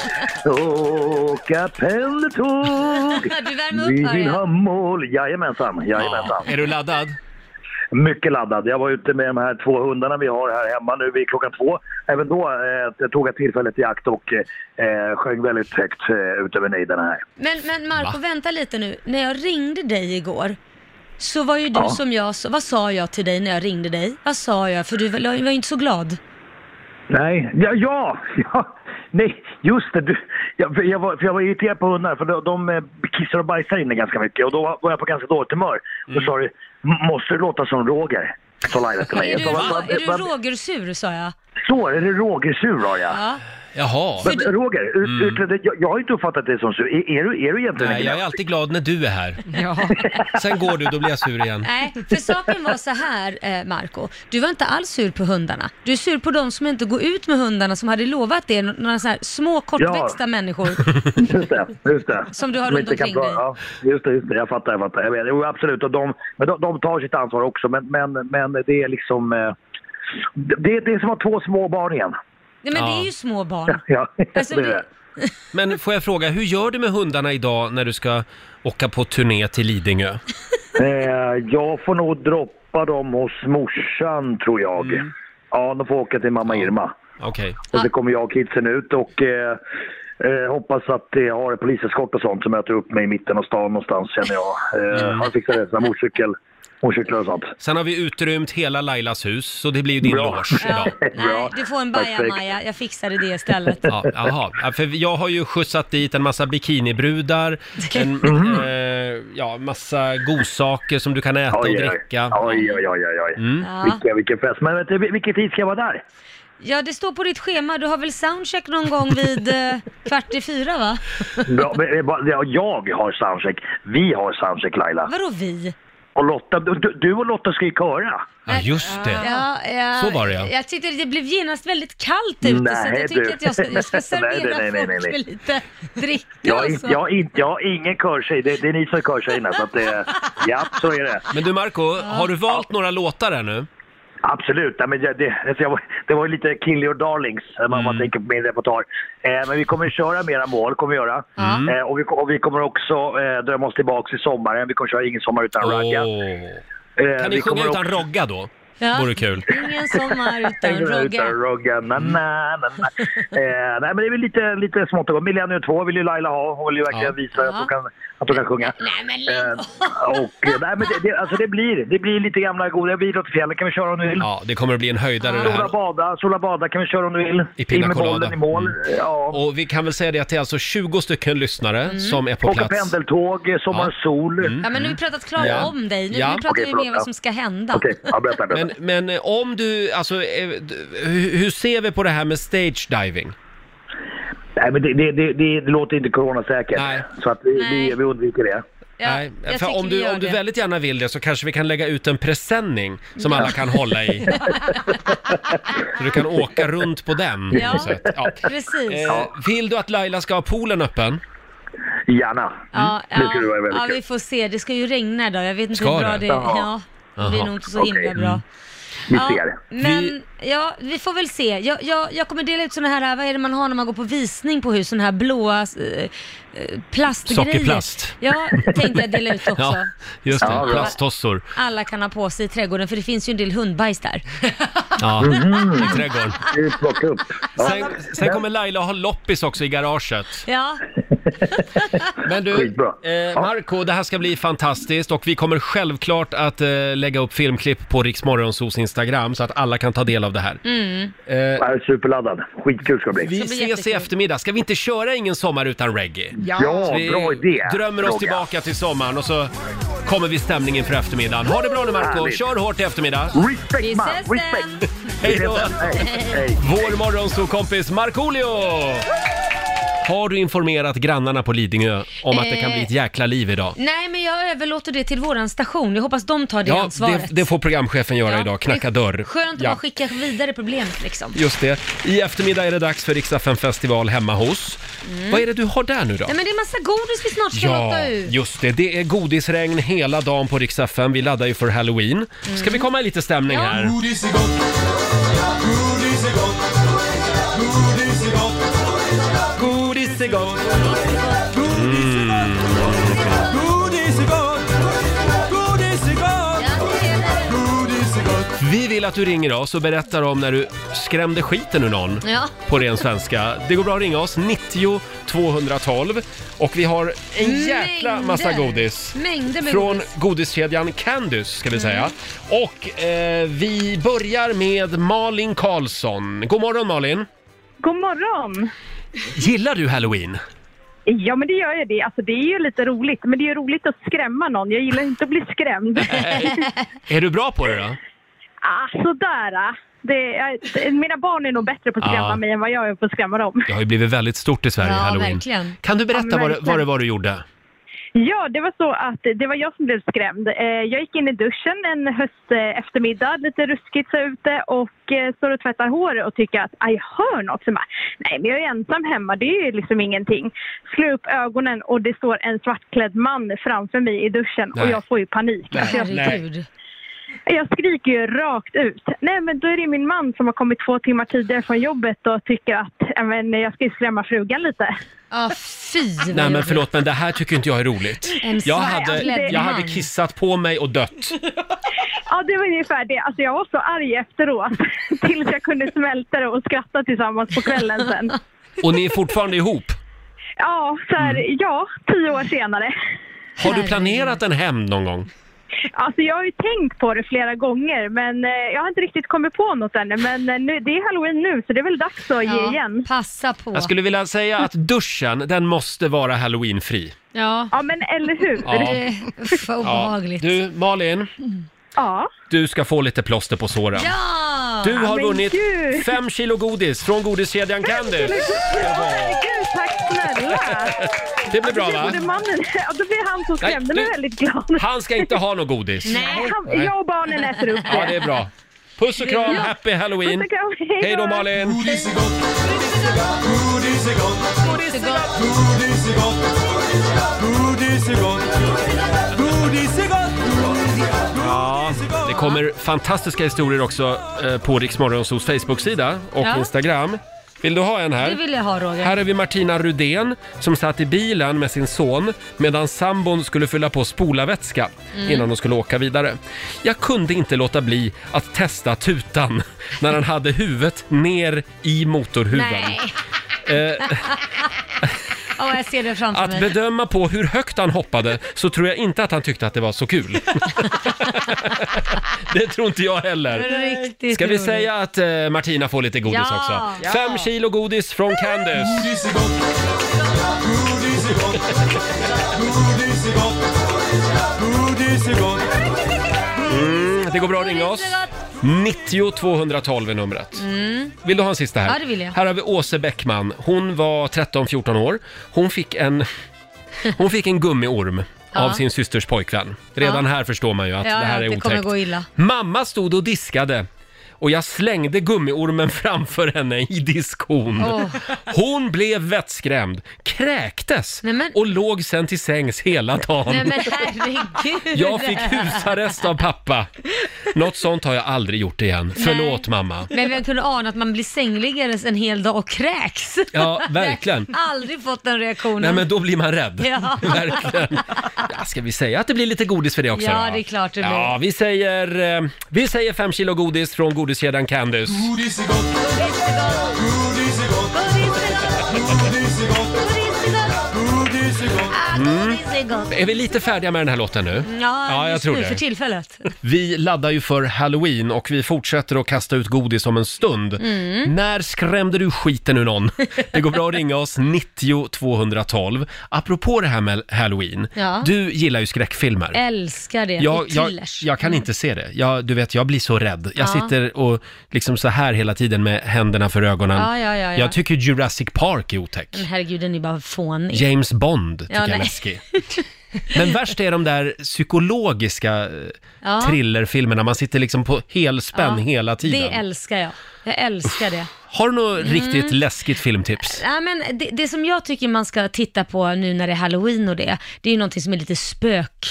Åka pendeltåg.
Du värmer
Vi
upp
vill
Örjan.
ha mål. Jajamensan, jajamensan.
Är du laddad?
Mycket laddad. Jag var ute med de här två hundarna vi har här hemma nu vid klockan två. Även då eh, tog jag tillfället i akt och eh, sjöng väldigt högt eh, ut över nejderna här.
Men, men Marco,
Va?
vänta lite nu. När jag ringde dig igår så var ju du
Ja.
som jag, vad sa jag till dig när jag ringde dig? Vad sa jag? För du var var ju inte så glad.
Nej, ja, ja, ja. Nej, just det. Du, jag, för jag, var, för jag var irriterad på hundar för de, de eh, kissar och bajsar inne ganska mycket och då var jag på ganska dåligt humör.
Mm.
Då sa du, "M- måste du låta som Roger? Sa Laila till mig. Jag
Är du,
sa, "Va- va-
är du
va-
Roger-sur sa jag.
Så, är det Roger-sur har jag.
Ja.
Jaha. Mm.
Men, Roger, ut, utredde, jag, jag har inte uppfattat dig som sur. Är, är, du, är du egentligen
Nej, jag är alltid glad när du är här.
Ja.
Sen går du, då blir jag sur igen.
Nej, för saken var så här eh, Marco. Du var inte alls sur på hundarna. Du är sur på de som inte går ut med hundarna som hade lovat det. Några så här små kortväxta
Ja.
människor.
Just det, just det.
Som du har runt
inte kan
omkring
dra-
dig.
Ja, just det, just det. Jag fattar, jag fattar. Jag vet, jo, absolut. Och de, men de, de tar sitt ansvar också. Men, men, men det är liksom... eh, Det, det är som att ha två små barn igen.
Nej men
Ja.
det är ju små barn.
Ja,
Alltså,
det är
du-
det.
Men får jag fråga, hur gör du med hundarna idag när du ska åka på turné till Lidingö?
Eh, jag får nog droppa dem hos morsan, tror jag.
Mm.
Ja, de får åka till mamma Irma.
Okej.
Och så kommer jag och kidsen ut och eh, eh, hoppas att jag har en poliseskort och sånt som möter upp mig i mitten av stan någonstans, känner jag.
Mm.
Eh, han fixar det, sina motorcykel, motorcyklar och sånt.
Sen har vi utrymt hela Lailas hus, så det blir ju din
Bra.
loge
Ja,
idag.
nej,
Bra.
du får en bajamaja. Jag fixade det istället.
Ja, jaha. Ja, för jag har ju skjutsat dit en massa bikinibrudar, en
Mhm.
eh, ja, massa godsaker som du kan äta och dricka. Mm.
Oj, oj, oj, oj. oj.
Ja.
Vilken, vilken fest. Men vet du, vil- vilken tid ska jag vara där?
ja, det står på ditt schema. Du har väl soundcheck någon gång vid eh, kvart i fyra va?
Bra, men, eh, bara- ja, jag har soundcheck. Vi har soundcheck, Laila.
Vadå vi?
Och Lotta, du, du- du och Lotta ska ju köra.
Ja, just det.
Ja, ja,
Så var det, ja.
Jag tyckte det blev genast väldigt kallt ute så
Nej,
jag tyckte
du.
att jag ska, jag ska
Nej,
servera
nej, nej, nej,
folk
nej.
med lite dricka
Jag, är
och
inte-
så.
jag, är inte- jag har ingen körtjej. Det, det är ni som är körtjejerna. Så att det, ja, så är det.
Men du Marco, har du valt några låtar här nu?
Absolut. Nej, men det, det, alltså jag, var- det var ju lite kill your darlings eh, om
Mm.
man tänker på min repertoar. Eh, men vi kommer att köra mera mål, kommer vi göra.
Mm.
Eh, och, vi, och vi kommer också eh, drömma oss tillbaka i sommaren. Vi kommer köra Ingen sommar utan ragga.
Åh.
Eh,
Kan
vi
ni
kommer
sjunga utan
också-
rogga då?
Ja.
Vore kul. Mm.
Ingen sommar utan Rogge.
Utan Rogga. Na, na, na, na. Eh, nej, men det är väl lite, lite smått och gott. Millennium 2 vill ju Laila ha. Hon vill ju verkligen
Ja.
visa att hon kan, att hon kan sjunga.
Nej men lägg
Eh,
av.
och, eh, nej, men det, det, alltså det, blir, det blir lite gamla goda. Vi drar till fjällen kan vi köra om du vill.
Ja, det kommer att bli en höjdare det
Sola
här.
bada, sola bada kan vi köra om du vill.
I pina
In med
colada. Mm.
bollen i mål. Eh, Ja.
Och vi kan väl säga det att det är alltså 20 stycken lyssnare som är på
Åka
plats. Mm.
pendeltåg, eh, sommarsol.
Ja men nu har vi pratat klart
Ja.
om dig. Nu,
Ja.
nu pratar
Okej,
vi
förlåt.
mer vad som ska hända.
Okej, ja, berätta, berätta.
Men, men eh, om du, alltså, eh, d- hur hur ser vi på det här med stage diving?
Nej, men det, det, det, det låter inte coronasäkert.
Nej.
Så att vi,
Nej.
vi, vi undviker det.
Ja,
Nej,
jag
för
tycker
om
vi
du,
gör
om du
det.
väldigt gärna vill det så kanske vi kan lägga ut en presenning som alla kan hålla i. så du kan åka runt på den. på
Ja.
något sätt. Ja.
Precis.
Eh, vill du att Laila ska ha poolen öppen?
Gärna. Mm.
Ja,
Det skulle vara
ja,
väldigt
ja,
kul.
vi får se. Det ska ju regna idag. Jag vet inte
Mm. Ska
hur bra
det?
det,
Jaha.
Ja, det
Jaha.
blir
Mm.
nog inte så himla
Okej.
bra.
Vi ser.
men ja, vi får väl se. Jag, jag, jag kommer dela ut såna här, vad är det man har när man går på visning på hus, såna här blåa eh, eh, plastgrejer.
Sockerplast.
Ja, tänkte jag dela ut också.
Ja, just det.
Ja, bra.
Plasttossor.
Alla kan ha på sig i trädgården, för det finns ju en del hundbajs där.
Ja,
Mhm.
i trädgården.
Vi plockar upp. Ja.
Sen, sen kommer Laila ha loppis också i garaget.
Ja,
Men du,
Skitbra.
eh, Marco, det här ska bli fantastiskt och vi kommer självklart att eh, lägga upp filmklipp på Riksmorgonsos Instagram så att alla kan ta del av det här.
Mm.
Mm.
Jag är superladdad. Skitkul ska det bli.
Vi
blir
ses i
jättekul.
eftermiddag. Ska vi inte köra Ingen sommar utan reggae?
Ja,
Vi
bra idé.
drömmer oss
Roger.
tillbaka till sommaren och så kommer vi i stämningen för eftermiddagen. Ha det bra nu Marco,
Härligt.
kör hårt i eftermiddag.
Respect
vi
man,
ses
respect.
sen.
Hej då!
Hej, hej.
Vår morgonsokompis Markoolio! Har du informerat grannarna på Lidingö om att det kan
Eh,
bli ett jäkla liv idag?
Nej, men jag överlåter det till våran station. Jag hoppas de tar det
Ja, det,
ansvaret.
det får programchefen göra
Ja,
idag, knacka
det är
dörr.
Skönt att
ja.
bara skicka vidare problemet liksom.
Just det. I eftermiddag är det dags för Riksdagen festival hemma hos. Vad är det du har där nu då?
Mm. Nej, men det är massa godis vi snart ska
Ja,
låta ut.
just det. Det är godisregn hela dagen på Riksdagen. Vi laddar ju för Halloween. Ska vi komma i lite stämning
Mm. Ja.
här?
Godis är gott, godis är gott, godis är gott,
Godis är gott.
godis är gott, godis är gott, godis är gott,
Ja, det är det.
godis är gott.
Vi vill att du ringer oss och berättar om när du skrämde skiten ur någon.
Ja.
På ren svenska. Det går bra att ringa oss, 90 212. Och vi har en jäkla massa
Mängder.
godis.
Mängder med
Från
godis.
godiskedjan Candys ska vi säga. Och eh, vi börjar med Malin Karlsson. God morgon Malin!
God morgon!
Gillar du halloween?
Ja, men det gör jag det. Alltså, det är ju lite roligt, men det är ju roligt att skrämma någon. Jag gillar inte att bli skrämd.
Är du bra på det då?
ah, sådär. ah. Det, är- mina barn är nog bättre på att skrämma
Ja.
mig än vad jag är på att skrämma dem.
Det har ju blivit väldigt stort i Sverige,
Ja,
halloween.
verkligen.
Kan du berätta
Ja,
vad, det,
verkligen.
vad det var du gjorde?
Ja, det var så att det var jag som blev skrämd. Eh, Jag gick in i duschen en höst eh, eftermiddag, lite ruskigt så ute och eh, står och tvättar håret och tycker att "Aj, jag hör något. Så bara, Nej, men jag är ensam hemma, det är ju liksom ingenting. Slår upp ögonen och det står en svartklädd man framför mig i duschen och
Nej.
jag får ju panik. Alltså, jag,
Herregud.
jag skriker ju rakt ut. Nej, men då är det min man som har kommit två timmar tidigare från jobbet och tycker att "Ja, men, jag ska ju skrämma frugan lite.
Ja, fy vad
Nej men
jobbigt.
förlåt, men det här tycker inte jag är roligt.
En
Jag hade,
svartklädd
jag
man.
hade kissat på mig och dött.
Ja, det var ungefär det. Alltså, jag var så arg efteråt. Tills jag kunde smälta det och skratta tillsammans på kvällen sen.
Och ni är fortfarande ihop.
Ja, så här,
Mm.
ja, tio år senare.
Har du planerat en hämnd någon gång?
Alltså, jag har ju tänkt på det flera gånger, men eh, jag har inte riktigt kommit på något ännu. Men eh, nu, det är halloween nu, så det är väl dags att ge igen.
Passa på.
Jag skulle vilja säga att duschen, den måste vara halloweenfri.
Ja.
Ja, men eller hur?
Ja.
Det, uff, vad obehagligt.
Du, Malin,
Ja.
du ska få lite plåster på såren.
Ja!
Du har
men
vunnit
gud.
fem kilo godis från godiskedjan Candy.
Herregud, tack snälla!
Det blir bra va?
Både mannen, ja, då blir han som
Nej,
skrämde
du-
mig väldigt glad.
Han ska inte ha något godis.
Nej.
Han, jag och barnen äter upp
Ja, det
det.
är bra. Puss och kram, happy halloween!
Puss och kram,
Hej då
då.
Malin!
Godis är gott, godis är gott, godis är gott, godis är gott, godis är gott, godis är gott.
Det kommer fantastiska historier också eh, på Riksmorgonsos Facebook-sida och
Ja.
Instagram. Vill du ha en här?
Det vill jag ha Roger.
Här är vi Martina Rudén som satt i bilen med sin son medan sambon skulle fylla på spolarvätska
Mm.
innan de skulle åka vidare. Jag kunde inte låta bli att testa tutan när han hade huvudet ner i motorhuven. Eh,
Nej. Ja, jag ser det framför
Att
mig.
bedöma på hur högt han hoppade så tror jag inte att han tyckte att det var så kul. det tror inte jag heller.
Riktigt
Ska vi
roligt.
säga att eh, Martina får lite godis
Ja.
också? Fem kilo godis från Candice.
Godis är gott, godis är gott, godis är gott, godis är gott.
Mm, Det går bra att ringa oss. 90 212 är numret. Vill du ha en sista här?
Ja, det vill jag.
Här har vi Åse Bäckman. Hon var 13-14 år. Hon fick en, hon fick en gummiorm. Av sin systers pojkvän. Redan här förstår man ju att
Ja,
det här
ja,
är
det kommer
otäckt.
gå illa.
Mamma stod och diskade och jag slängde gummiormen framför henne i diskon.
Åh.
Hon blev vettskrämd, kräktes
Nej, men-
och låg sen till sängs hela dagen.
Nej men herregud.
Jag fick husarrest av pappa. Något sånt har jag aldrig gjort igen. Förlåt mamma.
Men vem kunde ana att man blir sängliggares en hel dag och kräks?
Ja, verkligen.
Jag har Aldrig fått den reaktionen.
Nej men då blir man rädd.
Ja.
Verkligen. Ja, ska vi säga att det blir lite godis för det också
Ja,
då?
det är klart det blir.
Ja, vi säger, eh, vi säger fem kilo godis från godiskedjan Candice.
Godis är gott, godis är gott, godis är gott, godis är gott.
Mm.
Mm. Är vi lite färdiga med den här låten nu?
Ja,
Ja, jag
just
tror
nu
det.
för tillfället.
Vi laddar ju för halloween och vi fortsätter att kasta ut godis om en stund.
Mm.
När skrämde du skiten ur någon? Det går bra att ringa oss 90 212. Apropå det här med halloween,
Ja.
du gillar ju skräckfilmer.
Älskar det.
jag,
och
jag,
thrillers. Mm.
jag kan inte se det. Jag, du vet, jag blir så rädd. Jag
Ja.
sitter och liksom så här hela tiden med händerna för ögonen.
Ja, ja, ja, ja.
Jag tycker Jurassic Park är otäck.
Men herregud, den är bara fånig.
James Bond tycker jag är
nej.
läskig. Men värst är de där psykologiska eh,
Ja.
thrillerfilmerna. Man sitter liksom på helspänn
Ja,
hela tiden.
Det Mm. älskar jag. Jag älskar det.
Har du något riktigt läskigt filmtips?
Ja, men det, det som jag tycker man ska titta på nu när det är halloween och det, det är ju någonting som är lite spök,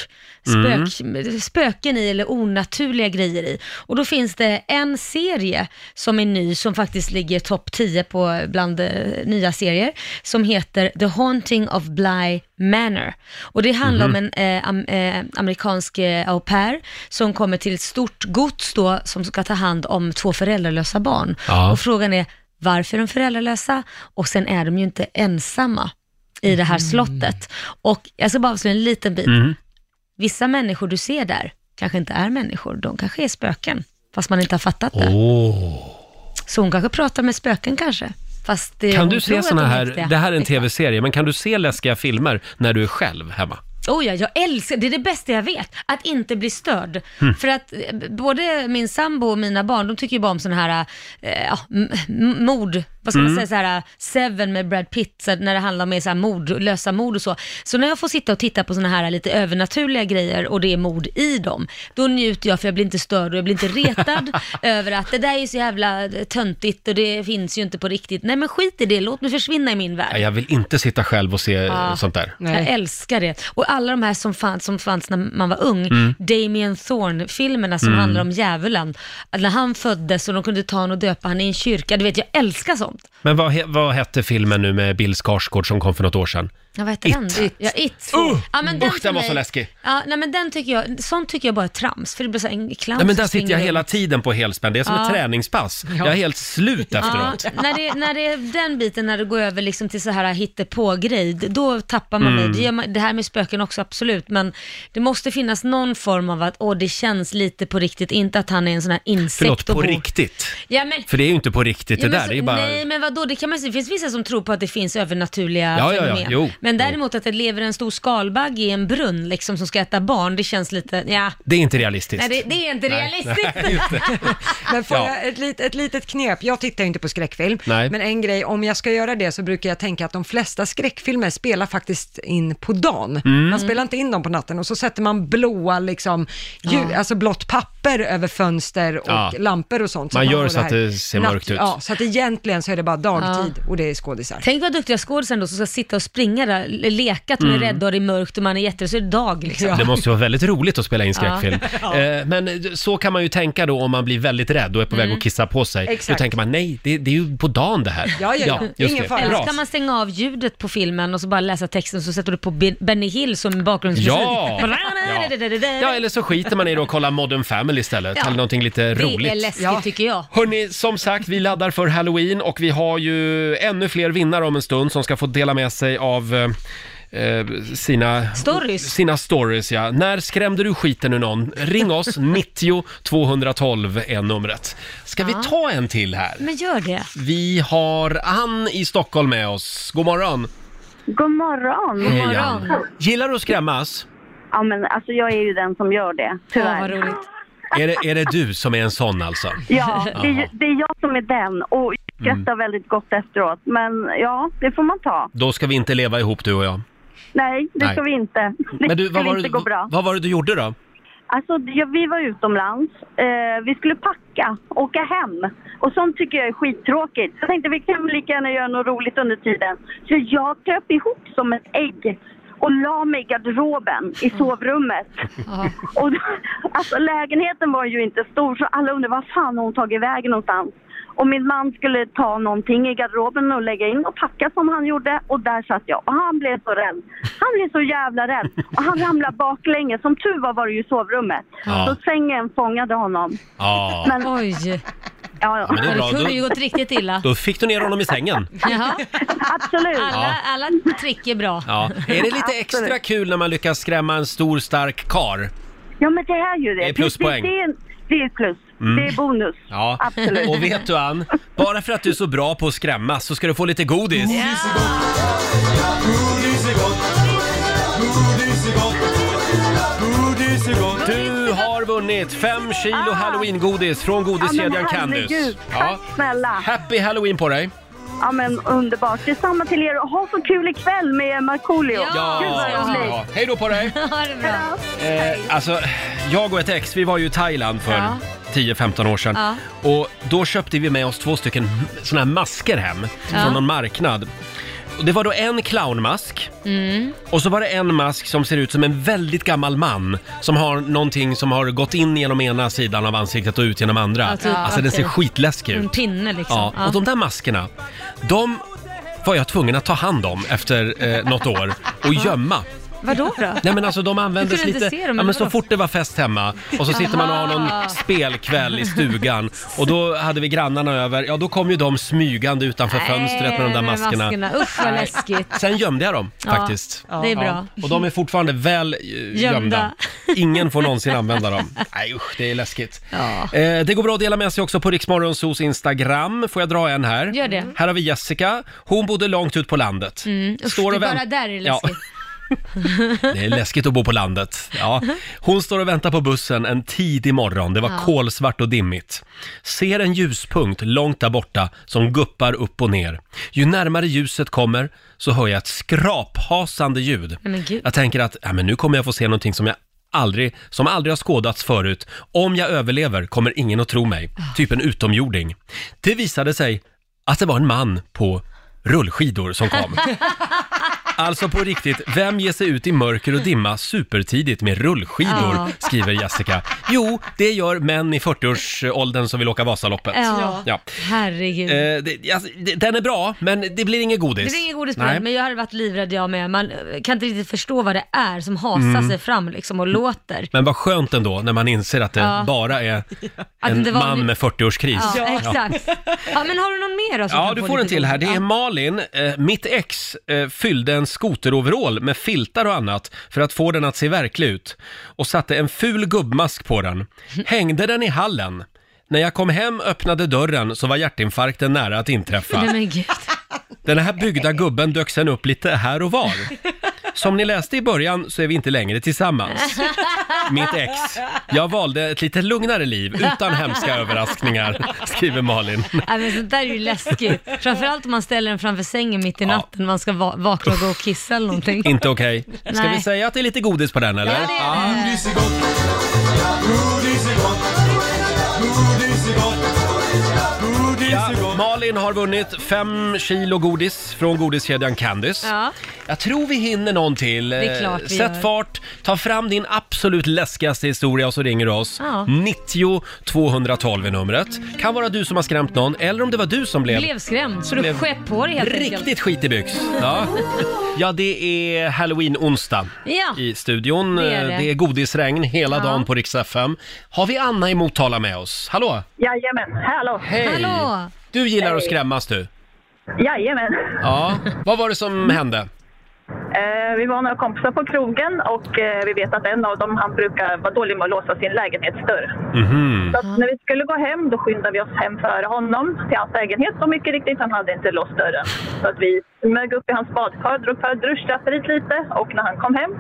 spök
Mm.
spöken i eller onaturliga grejer i. Och då finns det en serie som är ny, som faktiskt ligger topp 10 på bland eh, nya serier, som heter The Haunting of Bly Manor. Och det handlar
Mhm.
om en eh, am, eh, amerikansk eh, au pair som kommer till ett stort gods då, som ska ta hand om två föräldralösa barn.
Ja.
Och frågan är, varför är de föräldralösa? Och sen är de ju inte ensamma i det här
Mm.
slottet. Och jag ska bara avslöja en
음.
liten bit. Vissa människor du ser där kanske inte är människor, de kanske är spöken, fast man inte har fattat det.
Åh.
Så hon kanske pratar med spöken kanske. Fast det,
Kan
hon
du
tror
se
att
såna
de
här,
riktiga.
det här är en tv-serie, men kan du se läskiga filmer när du är själv hemma?
Oh ja, jag älskar, det är det bästa jag vet, att inte bli störd. För att eh, b- både min sambo och mina barn, de tycker ju bara om sådana här, eh, ja, m- m- mord, vad ska man säga, så här, eh, Seven med Brad Pitt, så att när det handlar om så här mord, lösa mord och så. Så när jag får sitta och titta på sådana här lite övernaturliga grejer och det är mord i dem, då njuter jag för jag blir inte störd och jag blir inte retad över att det där är ju så jävla eh, töntigt och det finns ju inte på riktigt. Nej men skit i det, låt mig försvinna i min värld.
Nej, Jag vill inte sitta själv och se eh, sånt där.
Jag
Nej.
älskar det. Och alla de här som fanns, som fanns när man var ung,
Mm.
Damien Thorne-filmerna som handlar om djävulen. Att när han föddes och de kunde ta honom och döpa honom i en kyrka. Du vet, jag älskar sånt.
Men vad, he- vad hette filmen nu med Bill Skarsgård som kom för något år sedan?
Ja, vad heter
It.
den?
It.
Ja, it.
Uh!
ja, men den
Usch,
för
den var
mig-
så läskig.
Ja, nej, men den tycker jag, sånt tycker jag bara är trams, för det blir så här en clown
Nej, men
som
där sitter
springer
jag
runt.
hela tiden på helspänn. Det är som ett träningspass. Jag är helt slut
Ja,
efteråt.
när, det, när det är den biten, när det går över liksom till så här hittepå-grej, d- då tappar man
Mm.
mig. Det, gör man, det här med spöken också, absolut, men det måste finnas någon form av att, åh, det känns lite på riktigt, inte att han är en sån här insekt
Förlåt,
och
på
bor-
riktigt.
Ja, men,
För det är ju inte på riktigt
ja,
det
men
där.
så,
det är ju bara...
Nej, men vadå, det kan man se. Det finns vissa som tror på att det finns övernaturliga
Ja, ja, ja,
fenomen.
jo.
Men däremot att det lever en stor skalbagge i en brunn liksom, som ska äta barn, det känns lite, ja,
Det är inte realistiskt.
nej, det, det är inte realistiskt.
Men får
Ja.
jag ett, lit, ett litet knep? Jag tittar ju inte på skräckfilm,
Nej.
men en grej, om jag ska göra det så brukar jag tänka att de flesta skräckfilmer spelar faktiskt in på dagen.
Mm.
Man spelar inte in dem på natten och så sätter man blåa, liksom, ljus, alltså blått papper över fönster och
Ja.
lampor och sånt.
Man gör
får
så att
här
det ser
natt-
mörkt ut.
Ja, så att egentligen så är det bara dagtid och det är skådisar.
Tänk vad duktiga skådisar då som ska sitta och springa där, le- leka att man är rädd och det är mörkt och man är jätterädd, så är det dag liksom.
Det måste ju vara väldigt roligt att spela in skräckfilm. Eh, Men så kan man ju tänka då om man blir väldigt rädd och är på
Mm.
väg att kissa på sig. Då
Exakt.
tänker man, nej, det, det är ju på dagen det här.
Ja, ja, ja.
just
Ingen
det.
fara.
Eller
Bra.
så kan man stänga av ljudet på filmen och så bara läsa texten så sätter du på Ben- Benny Hill som bakgrundsmusik.
Ja. Ja, eller så skiter man i det och kollar Modern Family istället.
Ja.
Eller någonting lite
Det är
roligt.
läskigt
Ja.
tycker jag.
Hörni, som sagt, vi laddar för Halloween och vi har ju ännu fler vinnare om en stund som ska få dela med sig av eh, eh, sina
Stories.
Sina stories, ja. När skrämde du skiten ur någon? Ring oss, 90 212 är numret. Ska vi ta en till här?
Men gör det.
Vi har Ann i Stockholm med oss. God morgon!
God morgon!
God
morgon.
Gillar du att skrämmas?
Ja, men alltså jag är ju den som gör det,
Ja, vad
tyvärr.
roligt.
Är det, är det du som är en sån alltså?
Ja, det är,
Jaha.
ju- det är jag som är den och jag
Mm.
skrattar väldigt gott efteråt. Men ja, det får man ta.
Då ska vi inte leva ihop du och jag.
Nej, det
Nej.
ska vi inte. Det
Men du, vad
skulle
var,
inte gå bra.
det, vad var det du gjorde då?
Alltså, ja, vi var utomlands. Eh, vi skulle packa, åka hem. Och sånt tycker jag är skittråkigt. Jag tänkte vi kan väl lika gärna göra något roligt under tiden. Så jag kröp ihop som ett ägg
och la mig i garderoben i sovrummet. Och, alltså, lägenheten var ju inte stor så alla undrade vad fan har hon tagit vägen någonstans. Och min man skulle ta någonting i garderoben och lägga in och packa som han gjorde och där satt jag och han blev så rädd. Han blev så jävla rädd och han ramlade baklänges. Som tur var var det ju i sovrummet.
Ja.
Så sängen fångade honom.
Ja.
Men,
Oj.
Ja, ja.
men det är bra.
kunde
Då-
ju gått riktigt illa.
Då fick du ner honom i sängen.
Jaha.
Absolut.
Alla, alla trick är bra.
Ja. Är det lite extra
Absolut.
kul när man lyckas skrämma en stor stark kar?
Ja, men det är ju det.
Det är pluspoäng. Mm.
Det, det, är en- det är plus. Det är bonus.
Ja.
Absolut.
Och vet du Ann, bara för att du är så bra på att skrämma så ska du få lite godis.
Godis är gott. Godis är gott. Godis är gott.
Du har vunnit 5 kilo
Ah.
halloweengodis från godiskedjan Candice.
herregud. Tack snälla.
Happy halloween på dig!
Ja, men underbart. Detsamma till er och ha så kul ikväll med Markoolio.
Ja.
Gud vad
Ja.
roligt.
Hej då på dig!
Ha det bra.
Eh, alltså, jag och ett ex, vi var ju i Thailand för
Ja.
10-15 år sedan.
Ja.
Och då köpte vi med oss två stycken såna här masker hem
Ja.
från någon marknad. Och det var då en clownmask och så var det en mask som ser ut som en väldigt gammal man som har någonting som har gått in genom ena sidan av ansiktet och ut genom andra.
Ja,
Alltså,
typ.
den ser
Okej.
skitläskig
En
ut.
pinne liksom.
Ja, och de där maskerna, de var jag tvungen att ta hand om efter eh, något år och gömma.
Vadå då?
Nej men alltså de användes
kunde inte
lite,
se dem,
ja,
eller
men så
vadå?
fort det var fest hemma och så sitter man och har någon spelkväll i stugan och då hade vi grannarna över, ja då kom ju de smygande utanför fönstret med de där
Nej,
maskerna.
Usch vad
Nej.
läskigt.
Sen gömde jag dem
Ja,
faktiskt.
det är bra.
Och de är fortfarande väl eh, gömda.
Gömda.
Ingen får någonsin använda dem. Nej usch, det är läskigt.
Ja.
Eh, det går bra att dela med sig också på Riksmorgonsos Instagram. Får jag dra en här?
Gör det. Mm.
Här har vi Jessica. Hon bodde långt ut på landet.
Usch, det är
vänt-
bara där är det
Ja.
läskigt.
Det är läskigt att bo på landet. Ja. Hon står och väntar på bussen en tidig morgon. Det var kolsvart och dimmigt. Ser en ljuspunkt långt där borta som guppar upp och ner. Ju närmare ljuset kommer så hör jag ett skraphasande ljud.
Nej, men gud.
Jag tänker att ja, men nu kommer jag få se någonting som jag aldrig, som aldrig har skådats förut. Om jag överlever kommer ingen att tro mig. Typ en utomjording. Det visade sig att det var en man på rullskidor som kom. Alltså på riktigt, vem ger sig ut i mörker och dimma supertidigt med rullskidor,
Ja.
skriver Jessica. Jo, det gör män i 40-årsåldern som vill åka Vasaloppet.
Ja.
Ja.
Herregud.
Eh, det, alltså, det, den är bra, men det blir inget godis.
Det blir inget godis på
Nej.
den, men jag hade varit livrädd jag med. Man eh, kan inte riktigt förstå vad det är som hasar
Mm.
sig fram liksom och låter.
Men vad skönt ändå när man inser att det
Ja.
bara är
Att
en
det var en-
man med 40-årskris.
Ja, exakt. Ja, men har Alltså, du någon mer då? som
Ja,
kan
du
få
får
lite
en till här. Det
godis?
är Malin. Eh, mitt ex eh, fyllde en skoteroverall med filtar och annat för att få den att se verklig ut och satte en ful gubbmask på den. Hängde den i hallen. När jag kom hem, öppnade dörren så var hjärtinfarkten nära att
Ja.
inträffa.
Nej men gud.
Den här byggda gubben dök sen upp lite här och var. Som ni läste i början så är vi inte längre tillsammans. Mitt ex. Jag valde ett lite lugnare liv utan hemska överraskningar, skriver Malin.
Nej, men sånt där är ju läskigt. Framförallt om man ställer den framför sängen mitt i natten man ska va- vakna och gå och kissa eller någonting.
Inte okej. Ska
Nej.
vi säga att det är lite godis på den eller?
Godis är gott. Godis är gott. Godis är gott. Godis
Ja,
är gott.
Malin har vunnit fem kilo godis från godiskedjan Candice.
Ja.
Jag tror vi hinner någon till. Eh,
är klart vi
Sätt
gör.
fart, ta fram din absolut läskigaste historia och så ringer du oss.
Ja.
90 212 är numret. Kan vara du som har skrämt någon eller om det var du som blev,
Blev skrämd, så du
Blev-
sket på dig helt enkelt.
riktigt skit i byx. Ja, ja det är halloween-onsdag.
Ja.
I studion.
Det är det.
det är godisregn hela
Ja.
dagen på Rix FM. Har vi Anna i Motala med oss? Hallå!
Jajamän, hallå.
Hej!
Hallå.
Du gillar att skrämmas du.
Jajamän.
Ja, vad var det som hände?
Eh, vi var några kompisar på krogen och eh, vi vet att en av dem han brukar vara dålig med att låsa sin lägenhetsdörr.
Mm.
Så
Mm-hmm.
att när vi skulle gå hem då skyndade vi oss hem före honom till hans lägenhet och mycket riktigt han hade inte låst dörren. Så att vi smög upp i hans badkar, drog för duschdraperiet lite och när han kom hem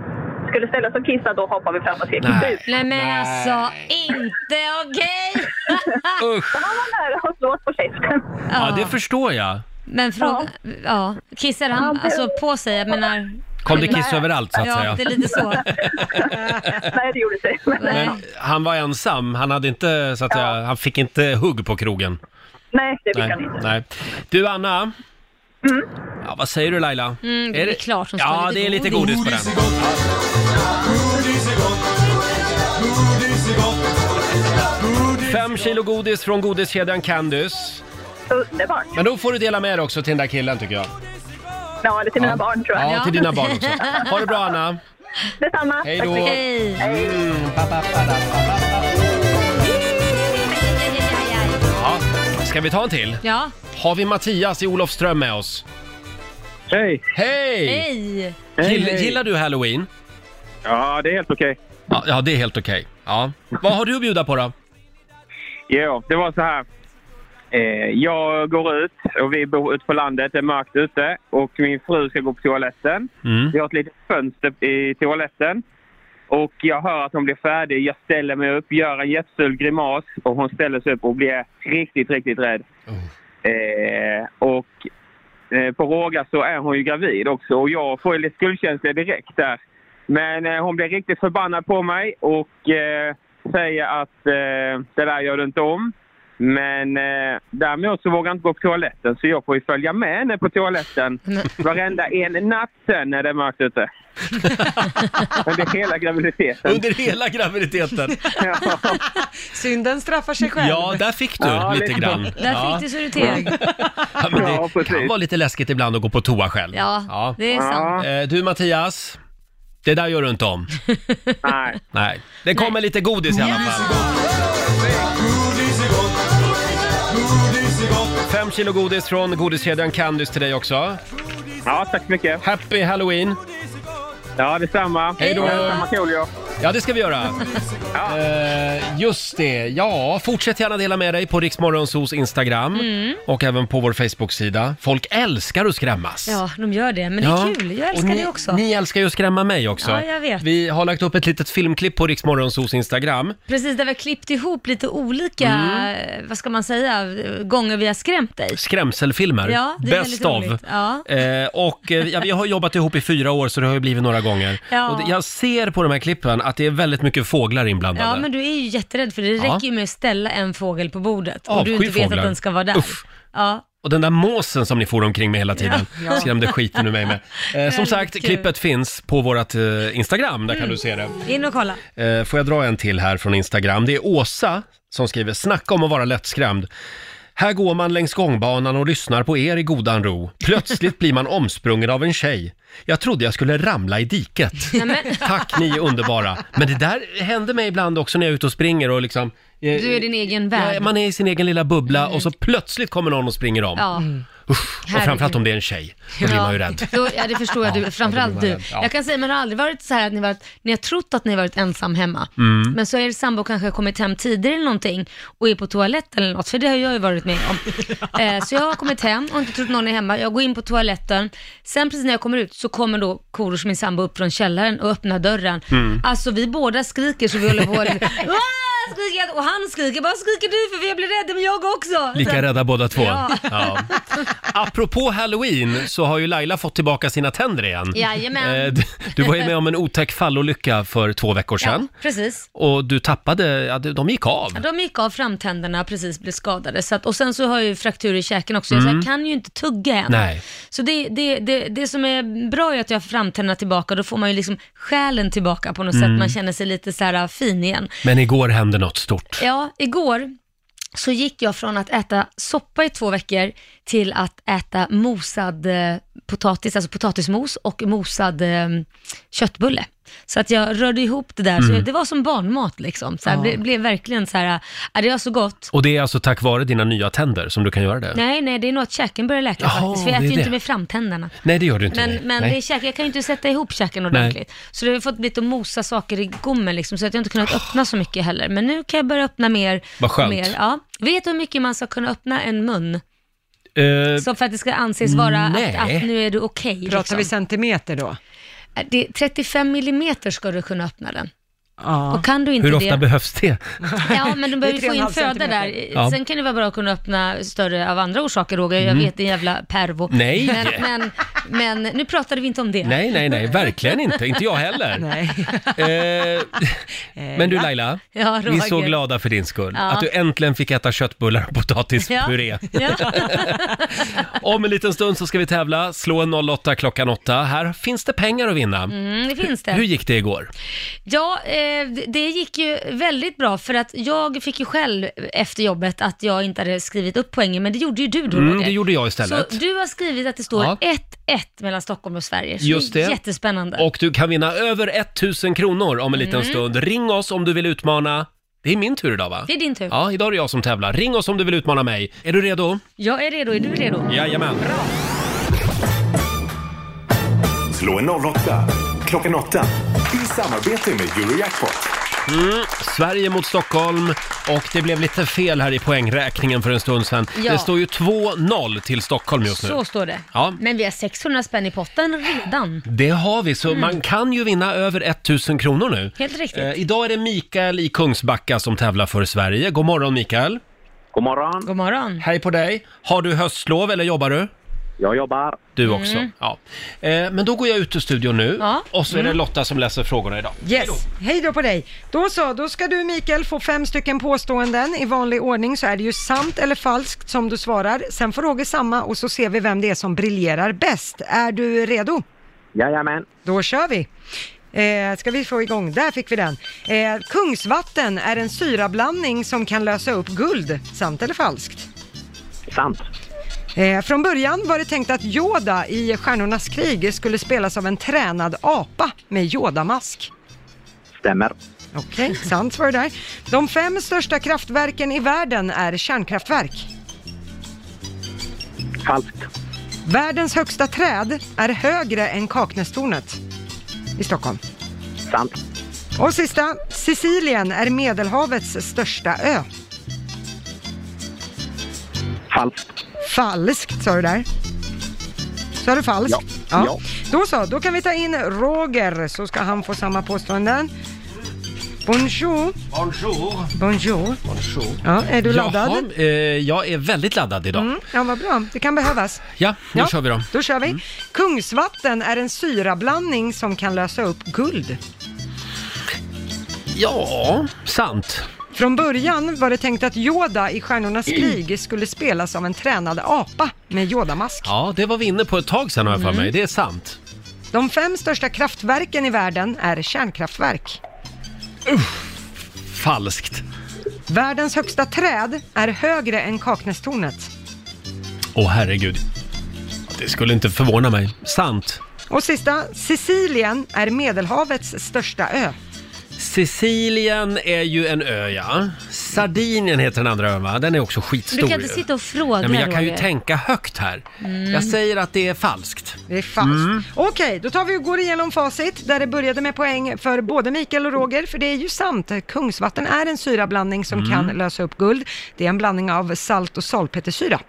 skulle ställa sig och kissa då hoppade vi fram och skrek
Nej.
ut.
Nej men alltså, inte okej!
Usch!
Han var nära att slå oss på käften.
Ja,
Ja,
det förstår jag.
Men fråga, ja. kissade han alltså på sig? Jag menar,
Kom det kiss överallt så att
ja det är
säga.
lite så.
Nej, det gjorde det inte.
Nej.
Men han var ensam, han hade inte, så att säga, han fick inte hugg på krogen.
Nej, det fick
Nej,
han inte.
nej. Du Anna, Ja, vad säger du Laila?
Mm, det är klart som
Ja,
står
det är lite godis på den. Fem kilo godis från godiskedjan Candys.
Underbart.
Men då får du dela med dig också till den där killen tycker jag.
Ja, det till mina barn tror jag.
Ja, till dina barn också. Ha det bra Anna.
Detsamma.
Hej
Tack
då.
så mycket.
Mm, ba, ba, ba, da, ba, ba, ba. Ja, ska vi ta en till?
Ja.
Har vi Mattias i Olofström med oss? Hej! Hej!
Hej!
Gill, gillar du halloween?
Ja, det är helt okej.
Ja, ja det är helt okej. Ja. Vad har du att bjuda på då?
Jo, det var så här. Eh, jag går ut och vi bor ute på landet. Det är mörkt ute och min fru ska gå på toaletten.
Mm.
Vi har ett litet fönster i toaletten. Och jag hör att hon blir färdig. Jag ställer mig upp, gör en jätteful grimas och hon ställer sig upp och blir riktigt, riktigt rädd. Eh, och eh, på råga så är hon ju gravid också och jag får ju lite skuldkänsla direkt där. Men eh, hon blir riktigt förbannad på mig och eh, säger att eh, det där gör du inte om. Men eh, däremot så vågar jag inte gå på toaletten så jag får ju följa med henne på toaletten varenda en natt sen när det är mörkt ute. Under hela graviditeten.
Under hela graviditeten?
Synden straffar sig själv.
Ja, där fick du
Ja,
lite
lite.
grann.
Där fick du så du till.
Ja, men det kan vara lite läskigt ibland att gå på toa själv.
Ja, det är sant.
Eh, Du Mattias, det där gör du inte om.
Nej.
Nej. Det kommer lite godis i alla fall. Fem kilo godis från godiskedjan Candys till dig också.
Ja, tack så mycket.
Happy Halloween!
Ja, detsamma.
Hej då!
Detsamma, Coolio.
Ja, det ska vi göra. Eh, just det. Ja, fortsätt gärna dela med dig på Riksmorgonsos Instagram
Mm.
och även på vår Facebook-sida. Folk älskar att skrämmas.
Ja, de gör det. Men
Ja.
det är kul. Jag
Och
älskar
ni,
det också.
Ni älskar ju att skrämma mig också.
Ja, jag vet.
Vi har lagt upp ett litet filmklipp på Riksmorgonsos Instagram.
Precis, där vi har klippt ihop lite olika,
Mm.
eh, vad ska man säga, gånger vi har skrämt dig.
Skrämselfilmer.
Ja, det är
Bäst
väldigt
av.
roligt. Ja.
Eh, och eh, ja, vi har jobbat ihop i fyra år så det har ju blivit några gånger.
Ja.
Och det- jag ser på de här klippen att det är väldigt mycket fåglar inblandade.
Ja, men du är ju jätterädd för det
Ja.
räcker ju med att ställa en fågel på bordet och
Avsky
du inte vet
fåglar.
att den ska vara där.
Uff.
Ja,
Och den där måsen som ni for omkring med hela tiden
Ja.
skrämde skiten ur mig med. Eh, som
Väldigt
sagt,
kul.
klippet finns på vårt eh, Instagram, där kan du se det.
in och kolla.
Eh, får jag dra en till här från Instagram? Det är Åsa som skriver, snacka om att vara lättskrämd. Här går man längs gångbanan och lyssnar på er i godan ro. Plötsligt blir man omsprungen av en tjej. Jag trodde jag skulle ramla i diket.
Nej, men-
Tack, ni är underbara. Men det där händer mig ibland också när jag är ute och springer och liksom... eh,
Du är din egen
ja,
värld. Mm.
man är i sin egen lilla bubbla och så plötsligt kommer någon och springer om.
Ja.
Mm. Och
Herregud.
framförallt om det är en tjej, då blir man ju rädd.
Då, ja, det förstår jag.
Ja,
Du,
då
framförallt
blir
du.
man rädd. Ja.
Jag kan säga, men det har aldrig varit så här att ni, varit, ni har trott att ni har varit ensam hemma.
Mm.
Men så är er sambo kanske har kommit hem tidigare eller någonting och är på toaletten eller något, för det har jag ju varit med om. eh, så jag har kommit hem och inte trott någon är hemma. Jag går in på toaletten. Sen precis när jag kommer ut så kommer då Korosh, min sambo, upp från källaren och öppnar dörren.
Mm.
Alltså vi båda skriker så vi håller på. "Aah!" skriker jag. och han skriker, vad skriker du för? Jag blir rädd, men jag också.
Lika rädda båda två.
Ja.
Ja. Apropå halloween så har ju Laila fått tillbaka sina tänder igen.
Jajamän.
Eh, d- Du var ju med om en otäck fallolycka för två veckor sedan.
Ja, precis.
Och du tappade, ja, de de gick av.
Ja, de gick av framtänderna precis blev skadade. Så att, och sen så har jag ju fraktur i käken också, så
Mm.
jag kan ju inte tugga än.
Nej.
Så det, det, det, det som är bra är att jag har framtänderna tillbaka, då får man ju liksom själen tillbaka på något
Mm.
sätt. Man känner sig lite så här fin igen.
Men igår hände något stort.
Ja, igår så gick jag från att äta soppa i två veckor till att äta mosad eh, potatis, alltså potatismos och mosad eh, köttbulle. Så att jag rörde ihop det där, så
Mm.
jag- det var som barnmat liksom. Så här,
Ja.
ble, blev verkligen så här, äh, det var så gott.
Och det är alltså tack vare dina nya tänder som du kan göra det?
Nej, nej, det är nog att käken börjar läka
Jaha,
faktiskt. Vi äter
det är
ju inte
det.
med framtänderna.
Nej, det gör du inte.
Men,
nej.
men
nej.
det är käken, jag kan ju inte sätta ihop käken ordentligt. Så det har ju fått lite att mosa saker i gommen liksom, så att jag inte kunnat öppna så mycket heller. Men nu kan jag börja öppna mer.
Vad skönt.
Mer. Ja. Vet du hur mycket man ska kunna öppna en mun?
Eh,
Så för att det ska anses vara
nej.
att, att nu är du okej. liksom. Eh,
Pratar vi centimeter då?
Det är 35 millimeter ska du kunna öppna den. Och kan du inte
Hur
det...
ofta behövs det?
Ja, men
Det är
de behöver
tre
ju få
och en
in
halv
föda
centimeter.
där.
Ja.
Sen kan det vara bra att kunna öppna större av andra orsaker, Roger. Jag
Mm.
vet, din jävla pervo.
Nej.
Men, men, Men nu pratade vi inte om det.
Nej, nej, nej, verkligen inte. Inte jag heller. Eh, men du Laila,
Ja,
vi är så
Roger.
glada för din skull.
Ja.
Att du äntligen fick äta köttbullar och potatispuré.
Ja.
Om en liten stund så ska vi tävla. Slå en 08 klockan 8. Här finns det pengar att vinna.
Mm, det finns det.
Hur gick det igår?
Ja, eh, det- det gick ju väldigt bra för att jag fick ju själv efter jobbet att jag inte hade skrivit upp poängen, men det gjorde ju du då
Mm,
Roger.
det gjorde jag istället.
Så du har skrivit att det står
Ja.
1-1 mellan Stockholm och Sverige. Så
Just
det. är
det.
Jättespännande.
Och du kan vinna över 1000 kronor om en liten
Mm.
stund. Ring oss om du vill utmana... Det är min tur idag va?
Det är din tur.
Ja, idag är det jag som tävlar. Ring oss om du vill utmana mig. Är du redo?
Jag är redo, är du redo?
Jajamän.
Slå en 08 klockan 8 i samarbete med Eurojackpot.
Mm, Sverige mot Stockholm och det blev lite fel här i poängräkningen för en stund sedan.
Ja.
Det står ju 2-0 till Stockholm just nu.
Så står det.
Ja.
Men vi har 600 spänn i potten redan.
Det har vi, så
Mm.
man kan ju vinna över 1000 kronor nu.
Helt riktigt.
Eh, idag är det Mikael i Kungsbacka som tävlar för Sverige. God morgon Mikael!
God morgon!
God morgon!
Hej på dig! Har du höstlov eller jobbar du?
Jag jobbar.
Du också?
Mm.
Ja. Eh, men då går jag ut ur studion nu
Ja.
och så är det
Mm.
Lotta som läser frågorna idag.
Yes, hej då på dig. Då så, då ska du Mikael få fem stycken påståenden. I vanlig ordning så är det ju sant eller falskt som du svarar. Sen får Roger samma och så ser vi vem det är som briljerar bäst. Är du redo?
Jajamän.
Då kör vi. Eh, ska vi få igång? Där fick vi den. Eh, kungsvatten är en syrablandning som kan lösa upp guld. Sant eller falskt?
Sant.
Eh, från början var det tänkt att Yoda i Stjärnornas krig skulle spelas av en tränad apa med Yoda-mask.
Stämmer.
Okej, sant var det där. De fem största kraftverken i världen är kärnkraftverk.
Falskt.
Världens högsta träd är högre än Kaknästornet i Stockholm.
Sant.
Och sista, Sicilien är Medelhavets största ö.
Falskt.
Falskt sa du där. Sa du falskt?
Ja. Ja.
Då så, då kan vi ta in Roger så ska han få samma påståenden. Bonjour.
Bonjour.
Bonjour. Ja, är du laddad?
Jaha, eh, jag är väldigt laddad idag.
Mm, ja, vad bra. Det kan behövas.
Ja, nu
Ja.
kör vi då. Mm.
Då kör vi. Kungsvatten är en syrablandning som kan lösa upp guld.
Ja, sant.
Från början var det tänkt att Yoda i Stjärnornas
Mm.
krig skulle spelas av en tränad apa med Yoda-mask.
Ja, det var vi inne på ett tag sedan har jag för mig. Det är sant.
De fem största kraftverken i världen är kärnkraftverk.
Falskt.
Världens högsta träd är högre än Kaknästornet.
Åh herregud. Det skulle inte förvåna mig. Sant.
Och sista, Sicilien är Medelhavets största ö.
Sicilien är ju en ö, ja. Sardinien heter den andra ön, va? Den är också skitstor.
Du kan
ju.
inte sitta och fråga
Nej, men jag kan ju
Roger.
tänka högt här.
Mm.
Jag säger att det är falskt.
Det är falskt.
Mm.
Okej, då tar vi och går igenom facit där det började med poäng för både Mikael och Roger, för det är ju sant. Kungsvatten är en syrablandning som
Mm.
kan lösa upp guld. Det är en blandning av salt och salpetersyra.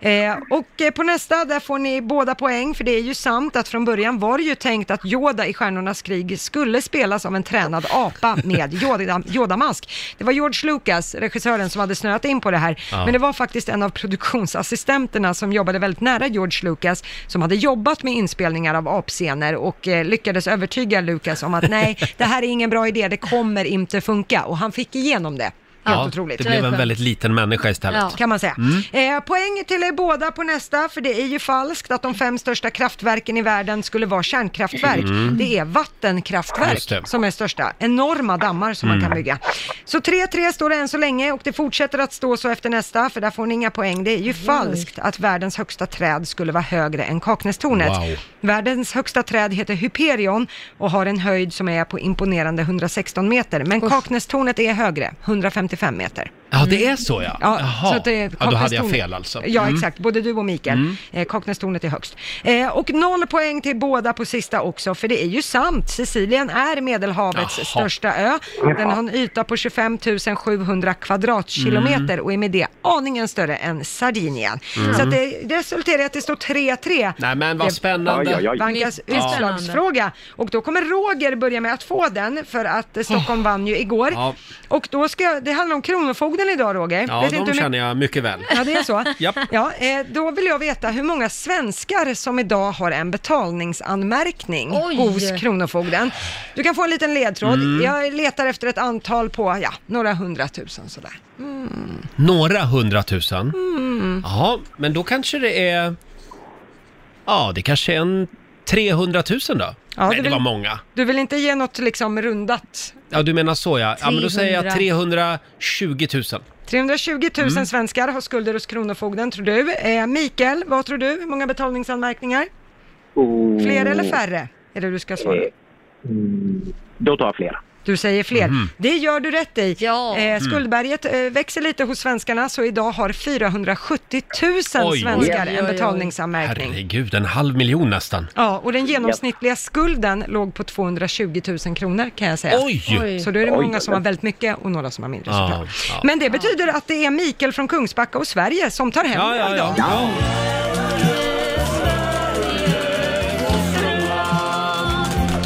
Eh, och eh, på nästa, där får ni båda poäng, för det är ju sant att från början var det ju tänkt att Yoda i Stjärnornas krig skulle spelas av en tränad apa med Yoda- Yoda-mask. Det var George Lucas, regissören, som hade snöat in på det här,
Ja.
men det var var faktiskt en av produktionsassistenterna som jobbade väldigt nära George Lucas, som hade jobbat med inspelningar av apscener och eh, lyckades övertyga Lucas om att nej, det här är ingen bra idé, det kommer inte funka. Och han fick igenom det. Helt otroligt.
det blev en väldigt liten människa istället.
Ja. Kan man säga.
Mm.
Eh, poäng till er båda på nästa, för det är ju falskt att de fem största kraftverken i världen skulle vara kärnkraftverk.
Mm.
Det är
Just det.
vattenkraftverk som är största. Enorma dammar som man
Mm.
kan bygga. Så 3-3 står det än så länge och det fortsätter att stå så efter nästa, för där får ni inga poäng. Det är ju falskt att världens högsta träd skulle vara högre än Kaknästornet.
Wow.
Världens högsta träd heter Hyperion och har en höjd som är på imponerande 116 meter, men Kaknästornet är högre, 155 meter.
Ja, det är så ja.
Ja,
Jaha.
så att det är
ja, då hade jag
Kaknästornet.
fel alltså.
Ja,
Mm.
exakt. Både du och Mikael.
Mm.
Eh, Kaknästornet är högst. Eh, och noll poäng till båda på sista också, för det är ju sant. Sicilien är Medelhavets
Jaha.
största ö. Den har en yta på 25 700 kvadratkilometer
Mm.
och är med det aningen större än Sardinien.
Mm.
Så att det resulterar i att det står 3-3.
Nej, men vad
Det-
spännande. Oj, oj, oj.
Vankas
Mycket spännande.
utslagsfråga. Och då kommer Roger börja med att få den, för att eh, Stockholm vann ju igår.
Ja.
Och då ska jag, det handlar om Kronofogden idag Roger.
Ja,
Vet inte hur
de
mycket-
känner jag mycket väl.
Ja, det är så.
Japp.
ja, eh, då vill jag veta hur många svenskar som idag har en betalningsanmärkning
Oj.
hos Kronofogden. Du kan få en liten ledtråd.
Mm.
Jag letar efter ett antal på, ja, några hundratusen sådär. Mm.
Några hundratusen.
Mm.
Ja, men då kanske det är... Ja, det kanske är en 300 000 då?
Ja,
Nej,
det
det
vill-
var många.
Du vill inte ge något liksom rundat?
Ja, du menar så ja. Ja, men då säger jag
300.
320 000.
320 000
Mm.
svenskar har skulder hos Kronofogden, tror du. Eh, Mikael, vad tror du? Hur många betalningsanmärkningar? Fler eller färre? Är det du ska svara?
Eh, Mm, Då tar jag fler.
Du säger fler.
Mhm.
Det gör du rätt i. Eh,
Mm.
skuldberget eh, växer lite hos svenskarna, så idag har 470 000
Oj, oj.
svenskar
Oj, oj,
en
oj.
betalningsanmärkning.
Herregud, en halv miljon nästan.
Ja, och den genomsnittliga skulden låg på 220 000 kronor kan jag säga.
Oj! Oj.
Så då är det
Oj,
många som har
oj.
väldigt mycket och några som har mindre såklart.
Ja, ja.
Men det betyder att det är Mikael från Kungsbacka och Sverige som tar hem
Ja, ja,
idag.
ja. ja.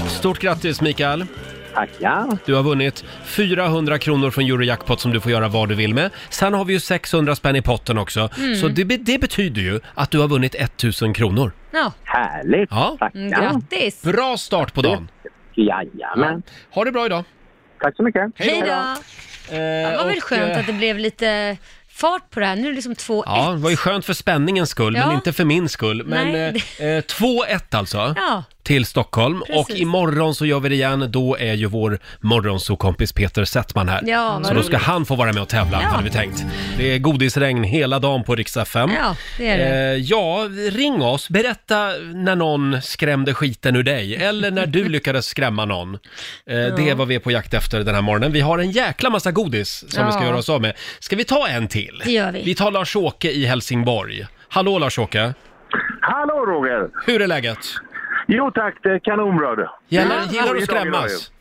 Stort grattis Mikael!
Tackar!
Du har vunnit 400 kronor från Eurojackpot som du får göra vad du vill med. Sen har vi ju 600 spänn i potten också.
Mm.
Så det, be- det betyder ju att du har vunnit 1000 kronor.
Ja.
Härligt!
Ja.
Mm, grattis!
Bra start på dagen!
Jajamän!
Ha det bra idag!
Tack så mycket!
Hej då!
Eh,
Det var väl skönt att det blev lite fart på det här. Nu är det liksom 2-1.
Ja, det var ju skönt för spänningens skull,
Ja.
men inte för min skull. Men
Nej,
eh, eh, 2-1 alltså,
Ja.
till Stockholm.
Precis.
Och imorgon så gör vi det igen. Då är ju vår morgonsokompis Peter Settman här.
Ja, vad
så då ska
roligt.
han få vara med och tävla,
Ja.
hade vi tänkt. Det är godisregn hela dagen på Rix FM.
Ja, det är det.
Eh, ja, ring oss. Berätta när någon skrämde skiten ur dig, eller när du lyckades skrämma någon. Eh, Det
Ja.
är vad vi är på jakt efter den här morgonen. Vi har en jäkla massa godis som vi ska
Ja.
göra oss av med. Ska vi ta en till?
Det gör vi.
Vi tar Lars-Åke i Helsingborg. Hallå Lars-Åke!
Hallå Roger!
Hur är läget?
Jo tack, det är kanonbra du.
Gillar, gillar du att skrämmas?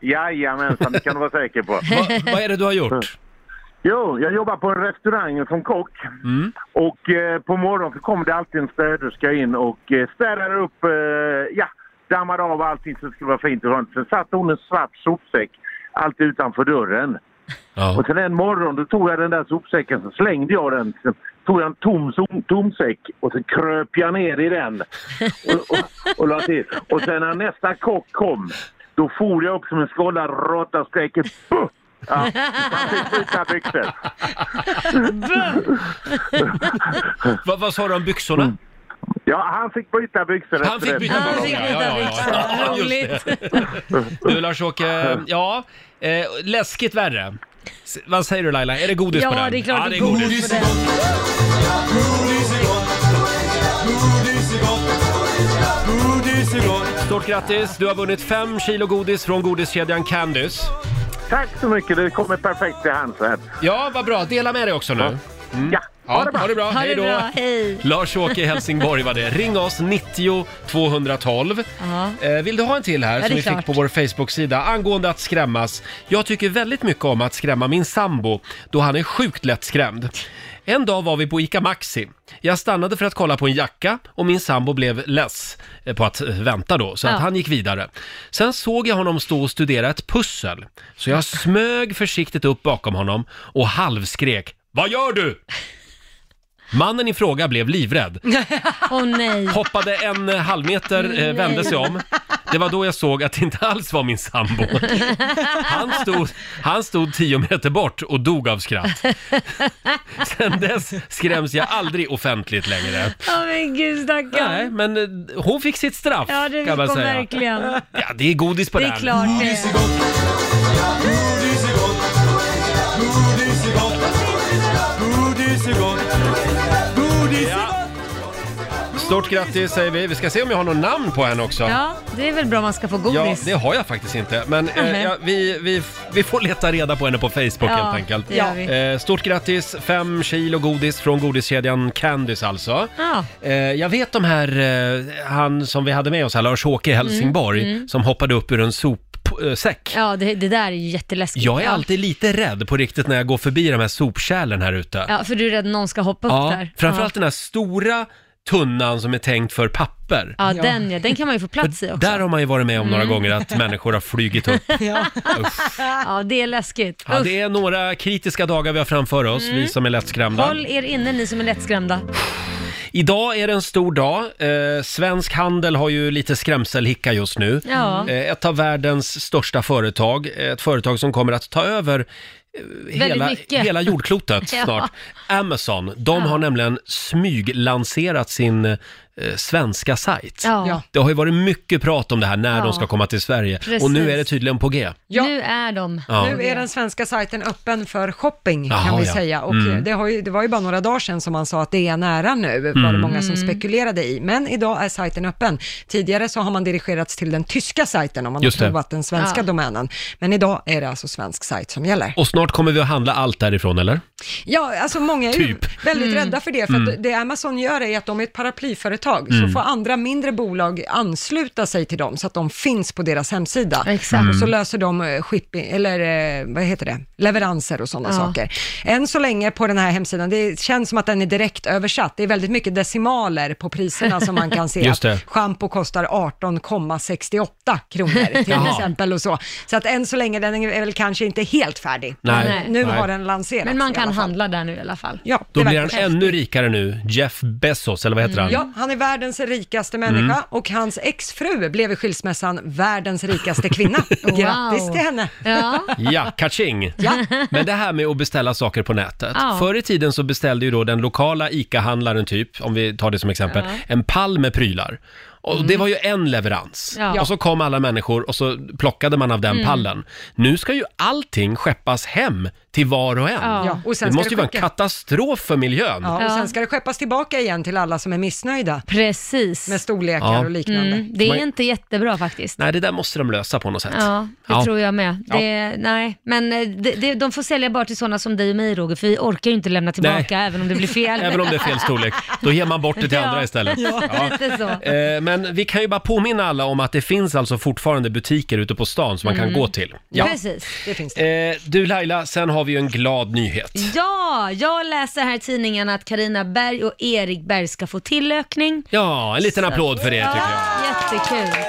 Jajamensan, det kan du vara säker på.
Va, vad är det du har gjort?
Jo, jag jobbar på en restaurang som kock.
Mm.
Och eh, på morgonen så kommer det alltid en städerska in och eh, städar upp, eh, ja, dammar av allting så det skulle vara fint och skönt. Sen satte hon en svart sopsäck alltid utanför dörren. Och sen en morgon då tog jag den där sopsäcken så slängde jag den. Sen tog jag en tom, som- tom säck och så kröp jag ner i den. Och, och, och, la till. och sen när nästa kock kom då for jag upp som en skållad råtta och skrek "Buh!" Ja, han fick byta byxor.
Vad, vad sa du om byxorna?
Mm. Ja, han fick byta byxor
Han fick byta Han byxor. fick byta Ja, ja, ja. byxor. Ja, just Du Lars-Åke, ja, eh, läskigt värre. S- vad säger du Laila, är det godis
Ja,
på den?
det är klart det är godis på den.
Stort grattis, du har vunnit fem kilo godis från godiskedjan Candice.
Tack så mycket, det kommer perfekt till hands här.
Ja, vad bra. Dela med dig också nu. Mm. Ja,
ha det bra.
Ha det bra.
Ha det
Hej då.
bra, hej.
Lars-Åke i Helsingborg var det. Ring oss, 90 212.
Ja.
Eh, Vill du ha en till här
Ja, det
som
är
vi fick
klart.
på vår Facebook-sida angående att skrämmas? Jag tycker väldigt mycket om att skrämma min sambo då han är sjukt lättskrämd. En dag var vi på ICA Maxi. Jag stannade för att kolla på en jacka och min sambo blev less eh, på att eh, vänta då, så
Ja.
att han gick vidare. Sen såg jag honom stå och studera ett pussel, så jag smög försiktigt upp bakom honom och halvskrek “Vad gör du?” Mannen i fråga blev livrädd.
Åh nej.
Hoppade en eh, halv meter, eh, vände sig om. Det var då jag såg att det inte alls var min sambo. Han stod, han stod tio meter bort och dog av skratt. Sen dess skräms jag aldrig offentligt längre.
Ja men gud
Nej,
stackarn.
men eh, hon fick sitt straff
Ja det fick
kan man
hon
säga.
verkligen.
Ja, det är godis på
Det
den.
är klart det.
Stort grattis säger vi. Vi ska se om jag har något namn på henne också.
Ja, det är väl bra man ska få
Ja,
godis.
det har jag faktiskt inte. Men eh,
Nej.
ja, vi, vi, vi får leta reda på henne på Facebook
Ja,
helt enkelt.
det gör vi.
Eh, stort grattis, fem kilo godis från godiskedjan Candice alltså.
Ja.
Eh, jag vet de här, eh, han som vi hade med oss här, Lars-Åke i Helsingborg,
Mm, mm.
som hoppade upp ur en sopsäck.
Ja, det, det där är ju jätteläskigt.
Jag är
Ja.
alltid lite rädd på riktigt när jag går förbi de här sopkärlen här ute.
Ja, för du är rädd någon ska hoppa upp där.
framförallt
ja.
den här stora tunnan som är tänkt för papper.
Ja, Den, ja, den kan man ju få plats i också.
Där har man ju varit med om några
Mm.
gånger att människor har flugit upp.
Ja. ja, det är läskigt.
Ja,
Usch.
det är några kritiska dagar vi har framför oss,
Mm.
vi som är lättskrämda.
Håll er inne ni som är lättskrämda.
Idag är det en stor dag. Eh, svensk handel har ju lite skrämselhicka just nu.
Ja.
Eh, ett av världens största företag, ett företag som kommer att ta över eh,
Väldigt
hela,
mycket.
hela jordklotet
Ja.
snart. Amazon, de har nämligen smyglanserat sin eh, svenska sajt.
Ja. Ja.
Det har ju varit mycket prat om det här när
Ja.
de ska komma till Sverige och
Precis.
nu är det tydligen på G.
Nu
är de.
Ja.
Nu är den svenska sajten öppen för shopping
Jaha,
kan vi
ja.
säga. Och
Mm.
det, har ju, det var ju bara några dagar sedan som man sa att det är nära nu, var det
Mm.
många som
Mm.
spekulerade i. Men idag är sajten öppen. Tidigare så har man dirigerats till den tyska sajten om man
Just det.
har provat den svenska
Ja.
domänen. Men idag är det alltså svensk sajt som gäller.
Och snart kommer vi att handla allt därifrån, eller?
Ja, alltså många är ju
Typ.
väldigt rädda för det, för
Mm.
att det Amazon gör är att de är ett paraplyföretag,
Mm.
så får andra mindre bolag ansluta sig till dem, så att de finns på deras hemsida.
Exakt.
Och så
Mm.
löser de eh, shipping, eller eh, vad heter det, leveranser och sådana
Ja.
saker. Än så länge på den här hemsidan, det känns som att den är direkt översatt. det är väldigt mycket decimaler på priserna som man kan se.
Just det.
Att Shampoo kostar 18,68 kronor till
Jaha.
exempel och så. Så att än så länge, den är väl kanske inte helt färdig.
Nej.
Men Nu
Nej.
har den lanserats
Men man
i
kan
alla fall.
handla där nu i alla fall.
Ja,
Då
det
blir han
verkar så.
ännu rikare nu, Jeff Bezos, eller vad heter han?
Ja, han är världens rikaste människa
Mm.
och hans exfru blev i skilsmässan världens rikaste kvinna. Grattis till henne!
Ja.
Ja, kaching!
Ja.
Men det här med att beställa saker på nätet.
Ja.
Förr i tiden så beställde ju då den lokala ICA-handlaren typ, om vi tar det som exempel,
Ja. Mm.
en pall med prylar. Och det var ju en leverans.
Ja.
Och så kom alla människor och så plockade man av den
Mm.
pallen. Nu ska ju allting skeppas hem till var och en.
Ja. Ja, och sen
det
ska
måste
det
ju vara en
skicka-
katastrof för miljön.
Ja, och sen ska det skeppas tillbaka igen till alla som är missnöjda.
Precis.
Med storlekar
Ja.
och liknande.
Mm,
Det är
Man-
inte jättebra faktiskt.
Nej, det där måste de lösa på något sätt.
Ja, det
Ja.
tror jag med.
Ja.
Det, Nej, men eh, det, det, de får sälja bara till sådana som dig och mig Roger, för vi orkar ju inte lämna tillbaka även om det blir fel.
Även om det är fel storlek. Då ger man bort det till
Ja.
andra istället.
Ja,
Ja.
lite så.
Eh, Men vi kan ju bara påminna alla om att det finns alltså fortfarande butiker ute på stan som man kan
Mm.
gå till.
Precis.
Det finns
Eh, Du Laila, sen har vi ju en glad nyhet.
Ja, jag läser här i tidningen att Karina Berg och Erik Berg ska få tillökning.
Ja, en liten applåd för det tycker jag.
Jättekul.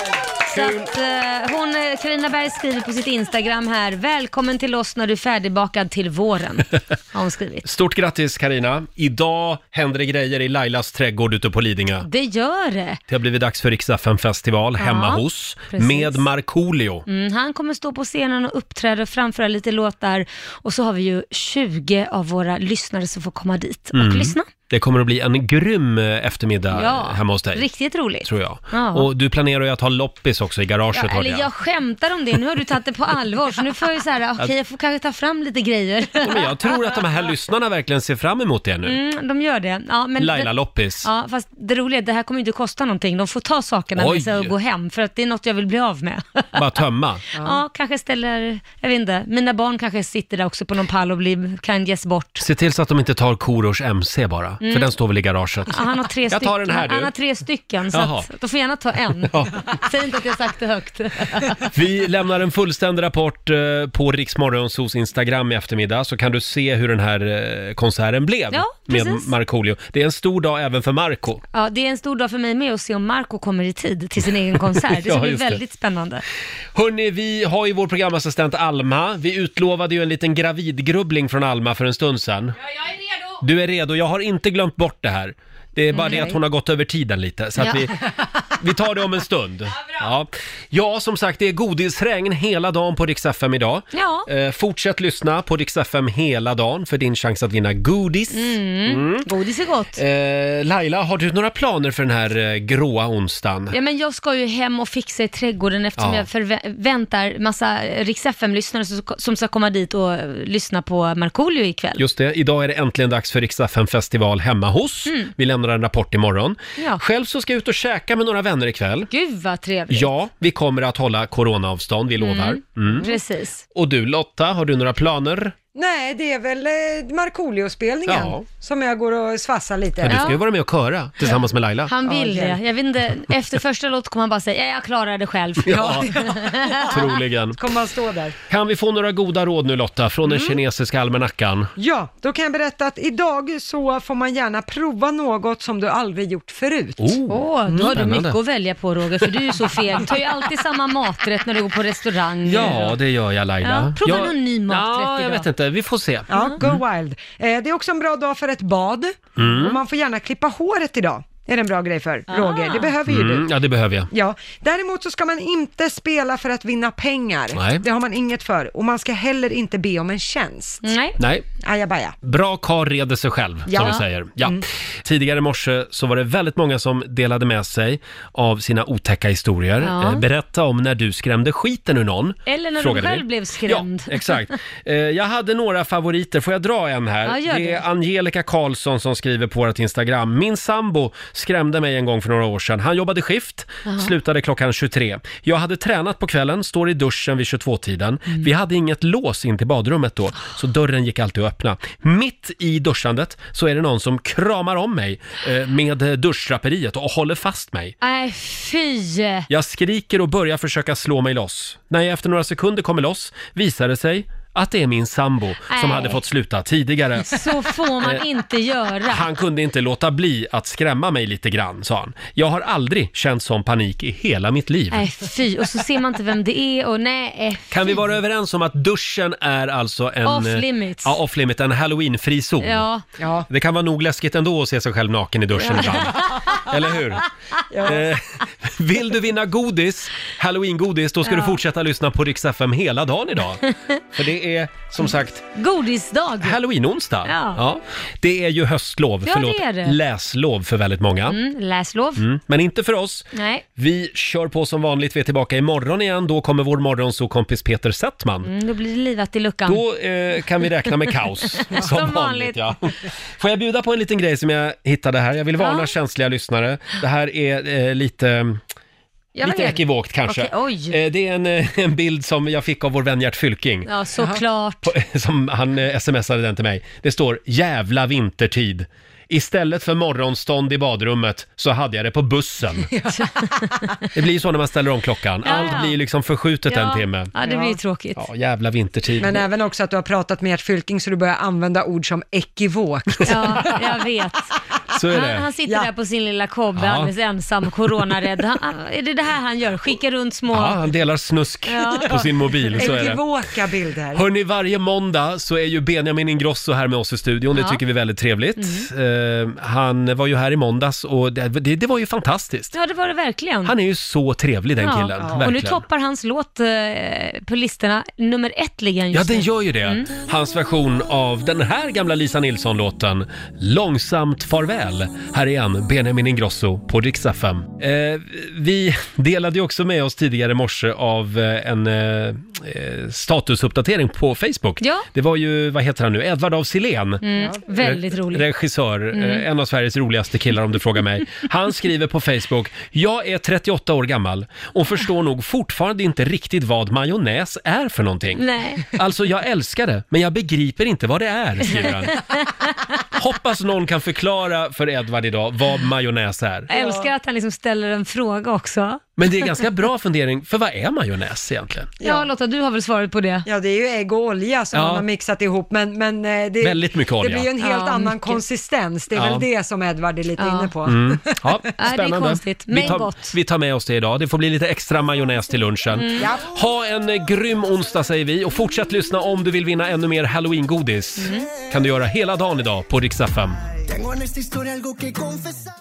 Så att, eh, hon, eh, Carina Berg skriver på sitt Instagram här, välkommen till oss när du är färdigbakad till våren. Har hon skrivit.
Stort grattis Karina. Idag händer det grejer i Lailas trädgård ute på Lidingö.
Det gör det.
Det har blivit dags för riksdagen festival
Ja,
hemma hos
precis.
med Markoolio.
Mm, han kommer stå på scenen och uppträda och framföra lite låtar. Och så har vi ju 20 av våra lyssnare som får komma dit och
Mm.
lyssna.
Det kommer att bli en grym eh, eftermiddag eh, hemma hos dig.
riktigt roligt.
Tror jag.
Ja.
Och du planerar ju att ha loppis också i garaget
Ja,
hörde
eller jag skämtar om det, nu har du tagit det på allvar, så nu får jag ju så här, okej jag får kanske ta fram lite grejer.
Ja, men jag tror att de här lyssnarna verkligen ser fram emot det nu.
Mm, de gör det. Ja, men
Laila Loppis.
Ja, fast det roliga är att det här kommer inte kosta någonting. De får ta sakerna
Oj.
med sig och gå hem, för att det är något jag vill bli av med.
Bara tömma.
Ja. kanske ställer, jag vet inte, mina barn kanske sitter där också på någon pall och blir, kan ges bort.
Se till så att de inte tar Korosh MC bara,
Mm.
för den står väl i garaget.
Ja, han har tre
jag tar
stycken.
den här
Han har
du.
tre stycken, så
Jaha.
att, då får jag gärna ta en.
Ja.
Säg inte att jag sagt det högt.
Vi lämnar en fullständig rapport eh, på Riksmorgonsos Instagram i eftermiddag så kan du se hur den här eh, konserten blev
Ja,
med
precis.
Markoolio. Det är en stor dag även för Marco.
Ja, det är en stor dag för mig med att se om Marco kommer i tid till sin egen konsert. Det
Ja,
ska bli
just det.
väldigt spännande.
Hörni, vi har ju vår programassistent Alma. Vi utlovade ju en liten gravidgrubbling från Alma för en stund sedan. Du är redo. Jag har inte glömt bort det här. Det är bara
Okej.
det att hon har gått över tiden lite, så att
Ja.
vi, vi tar det om en stund. Ja, ja, som sagt, det är godisregn hela dagen på Rix FM idag.
Ja.
Eh, fortsätt lyssna på Rix FM hela dagen för din chans att vinna godis.
Mm. Godis är gott.
Eh, Laila, har du några planer för den här eh, gråa onsdagen?
Ja, men jag ska ju hem och fixa i trädgården eftersom
Ja.
jag förväntar massa Rix FM-lyssnare som, som ska komma dit och eh, lyssna på Markoolio ikväll.
Just det, idag är det äntligen dags för Rix FM festival hemma hos.
Mm.
Vi lämnar en rapport imorgon.
Ja.
Själv så ska jag ut och käka med några vänner ikväll.
Gud vad trevligt.
Ja, vi kommer att hålla coronaavstånd, vi lovar. Mm.
Precis.
Och du Lotta, har du några planer?
Nej, det är väl eh, Markoolio-spelningen
Ja.
som jag går och svassar lite.
Ja, du ska ju vara med och köra tillsammans med Laila.
Han vill
Ja,
det.
hjälp.
Jag vet inte, efter första låt kommer han bara säga, ja, jag klarar det själv.
Ja, Troligen.
Kommer han stå där?
Kan vi få några goda råd nu Lotta från
Mm.
den kinesiska almanackan?
Ja, då kan jag berätta att idag så får man gärna prova något som du aldrig gjort förut.
Oh,
Åh, då har du
Spännande.
mycket att välja på Roger, för du är ju så feg. Du tar ju alltid samma maträtt när du går på restaurang.
Ja, det gör jag
Ja,
Laila.
prova
jag...
någon ny maträtt
Ja, jag
idag.
vet inte. Vi får se.
Ja,
Mm.
go wild. Eh, det är också en bra dag för ett bad
Mm.
och man får gärna klippa håret idag. Det är en bra grej
Ah.
för Roger, det behöver ju
Mm,
du.
ja, det behöver jag.
Ja, däremot så ska man inte spela för att vinna pengar.
Nej.
Det har man inget för. Och man ska heller inte be om en tjänst.
Nej.
Nej.
Ajabaja.
Bra karl reder sig själv,
Ja.
som vi säger. Ja.
Mm.
Tidigare i morse så var det väldigt många som delade med sig av sina otäcka historier.
Ja.
Eh, Berätta om när du skrämde skiten ur någon.
Eller när
frågade
du
vi.
själv blev skrämd.
Exakt. Eh, Jag hade några favoriter, får jag dra en här?
Ja, gör
det är
det.
Angelica Karlsson som skriver på vårt Instagram. Min sambo skrämde mig en gång för några år sedan. Han jobbade skift,
Jaha.
slutade klockan 23. Jag hade tränat på kvällen, står i duschen vid 22-tiden.
Mm.
Vi hade inget lås in till badrummet då, så dörren gick alltid att öppna. Mitt i duschandet så är det någon som kramar om mig eh, med eh, duschdraperiet och håller fast mig.
Nej, fy!
Jag skriker och börjar försöka slå mig loss. När jag efter några sekunder kommer loss visar det sig att det är min sambo som
Nej.
hade fått sluta tidigare.
Så får man
Eh,
inte göra.
Han kunde inte låta bli att skrämma mig lite grann, sa han. Jag har aldrig känt sån panik i hela mitt liv.
Nej, fy. Och så ser man inte vem det är och nej. eh.
Kan vi vara överens om att duschen är alltså en...
Off
eh,
limits.
Ja, off limit, en halloween-fri zon.
Ja.
ja.
Det kan vara nog läskigt ändå att se sig själv naken i duschen ibland. Eller hur? Eh, vill du vinna godis, halloween-godis, då ska du
Ja.
fortsätta lyssna på Rix FM hela dagen idag. För det är som sagt
Godisdag.
halloween-onsdag.
Ja.
Det är ju höstlov,
Ja,
förlåt,
det är det.
läslov för väldigt många.
Mm, läslov.
Mm, Men inte för oss.
Nej.
Vi kör på som vanligt, vi är tillbaka imorgon igen. Då kommer vår morgonsokompis Peter Settman.
Mm, då blir det livat i luckan.
Då eh, kan vi räkna med kaos. som, vanligt. ja. Får jag bjuda på en liten grej som jag hittade här? Jag vill varna
Ja.
känsliga lyssnare. Det här är eh, lite...
Jag
lite
vet.
ekivokt kanske.
Okej, oj.
Eh, det är en, eh, en bild som jag fick av vår vän Gert Fylking.
Ja, såklart.
På, som han eh, smsade den till mig. Det står “Jävla vintertid”. Istället för morgonstånd i badrummet så hade jag det på bussen. det blir ju så när man ställer om klockan.
Ja,
Allt
ja.
blir liksom förskjutet
Ja.
en timme.
Ja, det blir ju
tråkigt.
Ja, jävla vintertid.
Men även också att du har pratat med Gert Fylking så du börjar använda ord som ekivokt.
Ja, jag vet.
Så är
Han,
det.
han sitter där på sin lilla kobbe
Ja.
alldeles ensam, coronarädd. Han, han- är det det här han gör? Skickar runt små...
Ja, han delar snusk
Ja.
på sin mobil, så är det.
Ekivoka bilder.
Hörni, varje måndag så är ju Benjamin Ingrosso här med oss i studion. Det
Ja.
tycker vi är väldigt trevligt.
Mm.
Eh, han var ju här i måndags och det, det, det var ju fantastiskt.
Ja, det var det verkligen.
Han är ju så trevlig den
Ja.
killen.
Och nu
Verkligen.
toppar hans låt eh, på listorna. Nummer ett ligger han
Ja,
just Mm.
den gör
nu.
ju det. Hans version av den här gamla Lisa Nilsson-låten, Långsamt farväl. Här är han, Benjamin Ingrosso på Rix FM. Eh, vi delade ju också med oss tidigare i morse av eh, en eh, eh, statusuppdatering på Facebook.
Ja.
Det var ju, vad heter han nu, Edvard af Sillén.
Mm,
Eh,
väldigt rolig.
Regissör,
Mm.
eh, en av Sveriges roligaste killar om du frågar mig. Han skriver på Facebook, jag är 38 år gammal och förstår nog fortfarande inte riktigt vad majonnäs är för någonting.
Nej.
Alltså jag älskar det, men jag begriper inte vad det är, skriver han. Hoppas någon kan förklara för Edvard idag vad majonnäs är.
Jag älskar att han liksom ställer en fråga också.
Men det är ganska bra fundering, för vad är majonnäs egentligen?
Ja, Lotta, du har väl svarat på det?
Ja, det är ju ägg och olja som
Ja.
man har mixat ihop, men, men eh, det,
Väldigt mycket
det
olja.
blir ju en helt
Ja,
annan
mycket.
konsistens. Det är
Ja.
väl det som Edvard är lite
Ja.
inne på.
Mm. Ja,
det är
spännande.
konstigt,
vi,
men
tar,
gott.
vi tar med oss det idag. Det får bli lite extra majonnäs till lunchen.
Mm. Ja.
Ha en eh, grym onsdag säger vi och fortsätt lyssna om du vill vinna ännu mer
Mm.
halloween-godis. Kan du göra hela dagen idag på Rix FM.
Tengo en esta historia algo que confesar.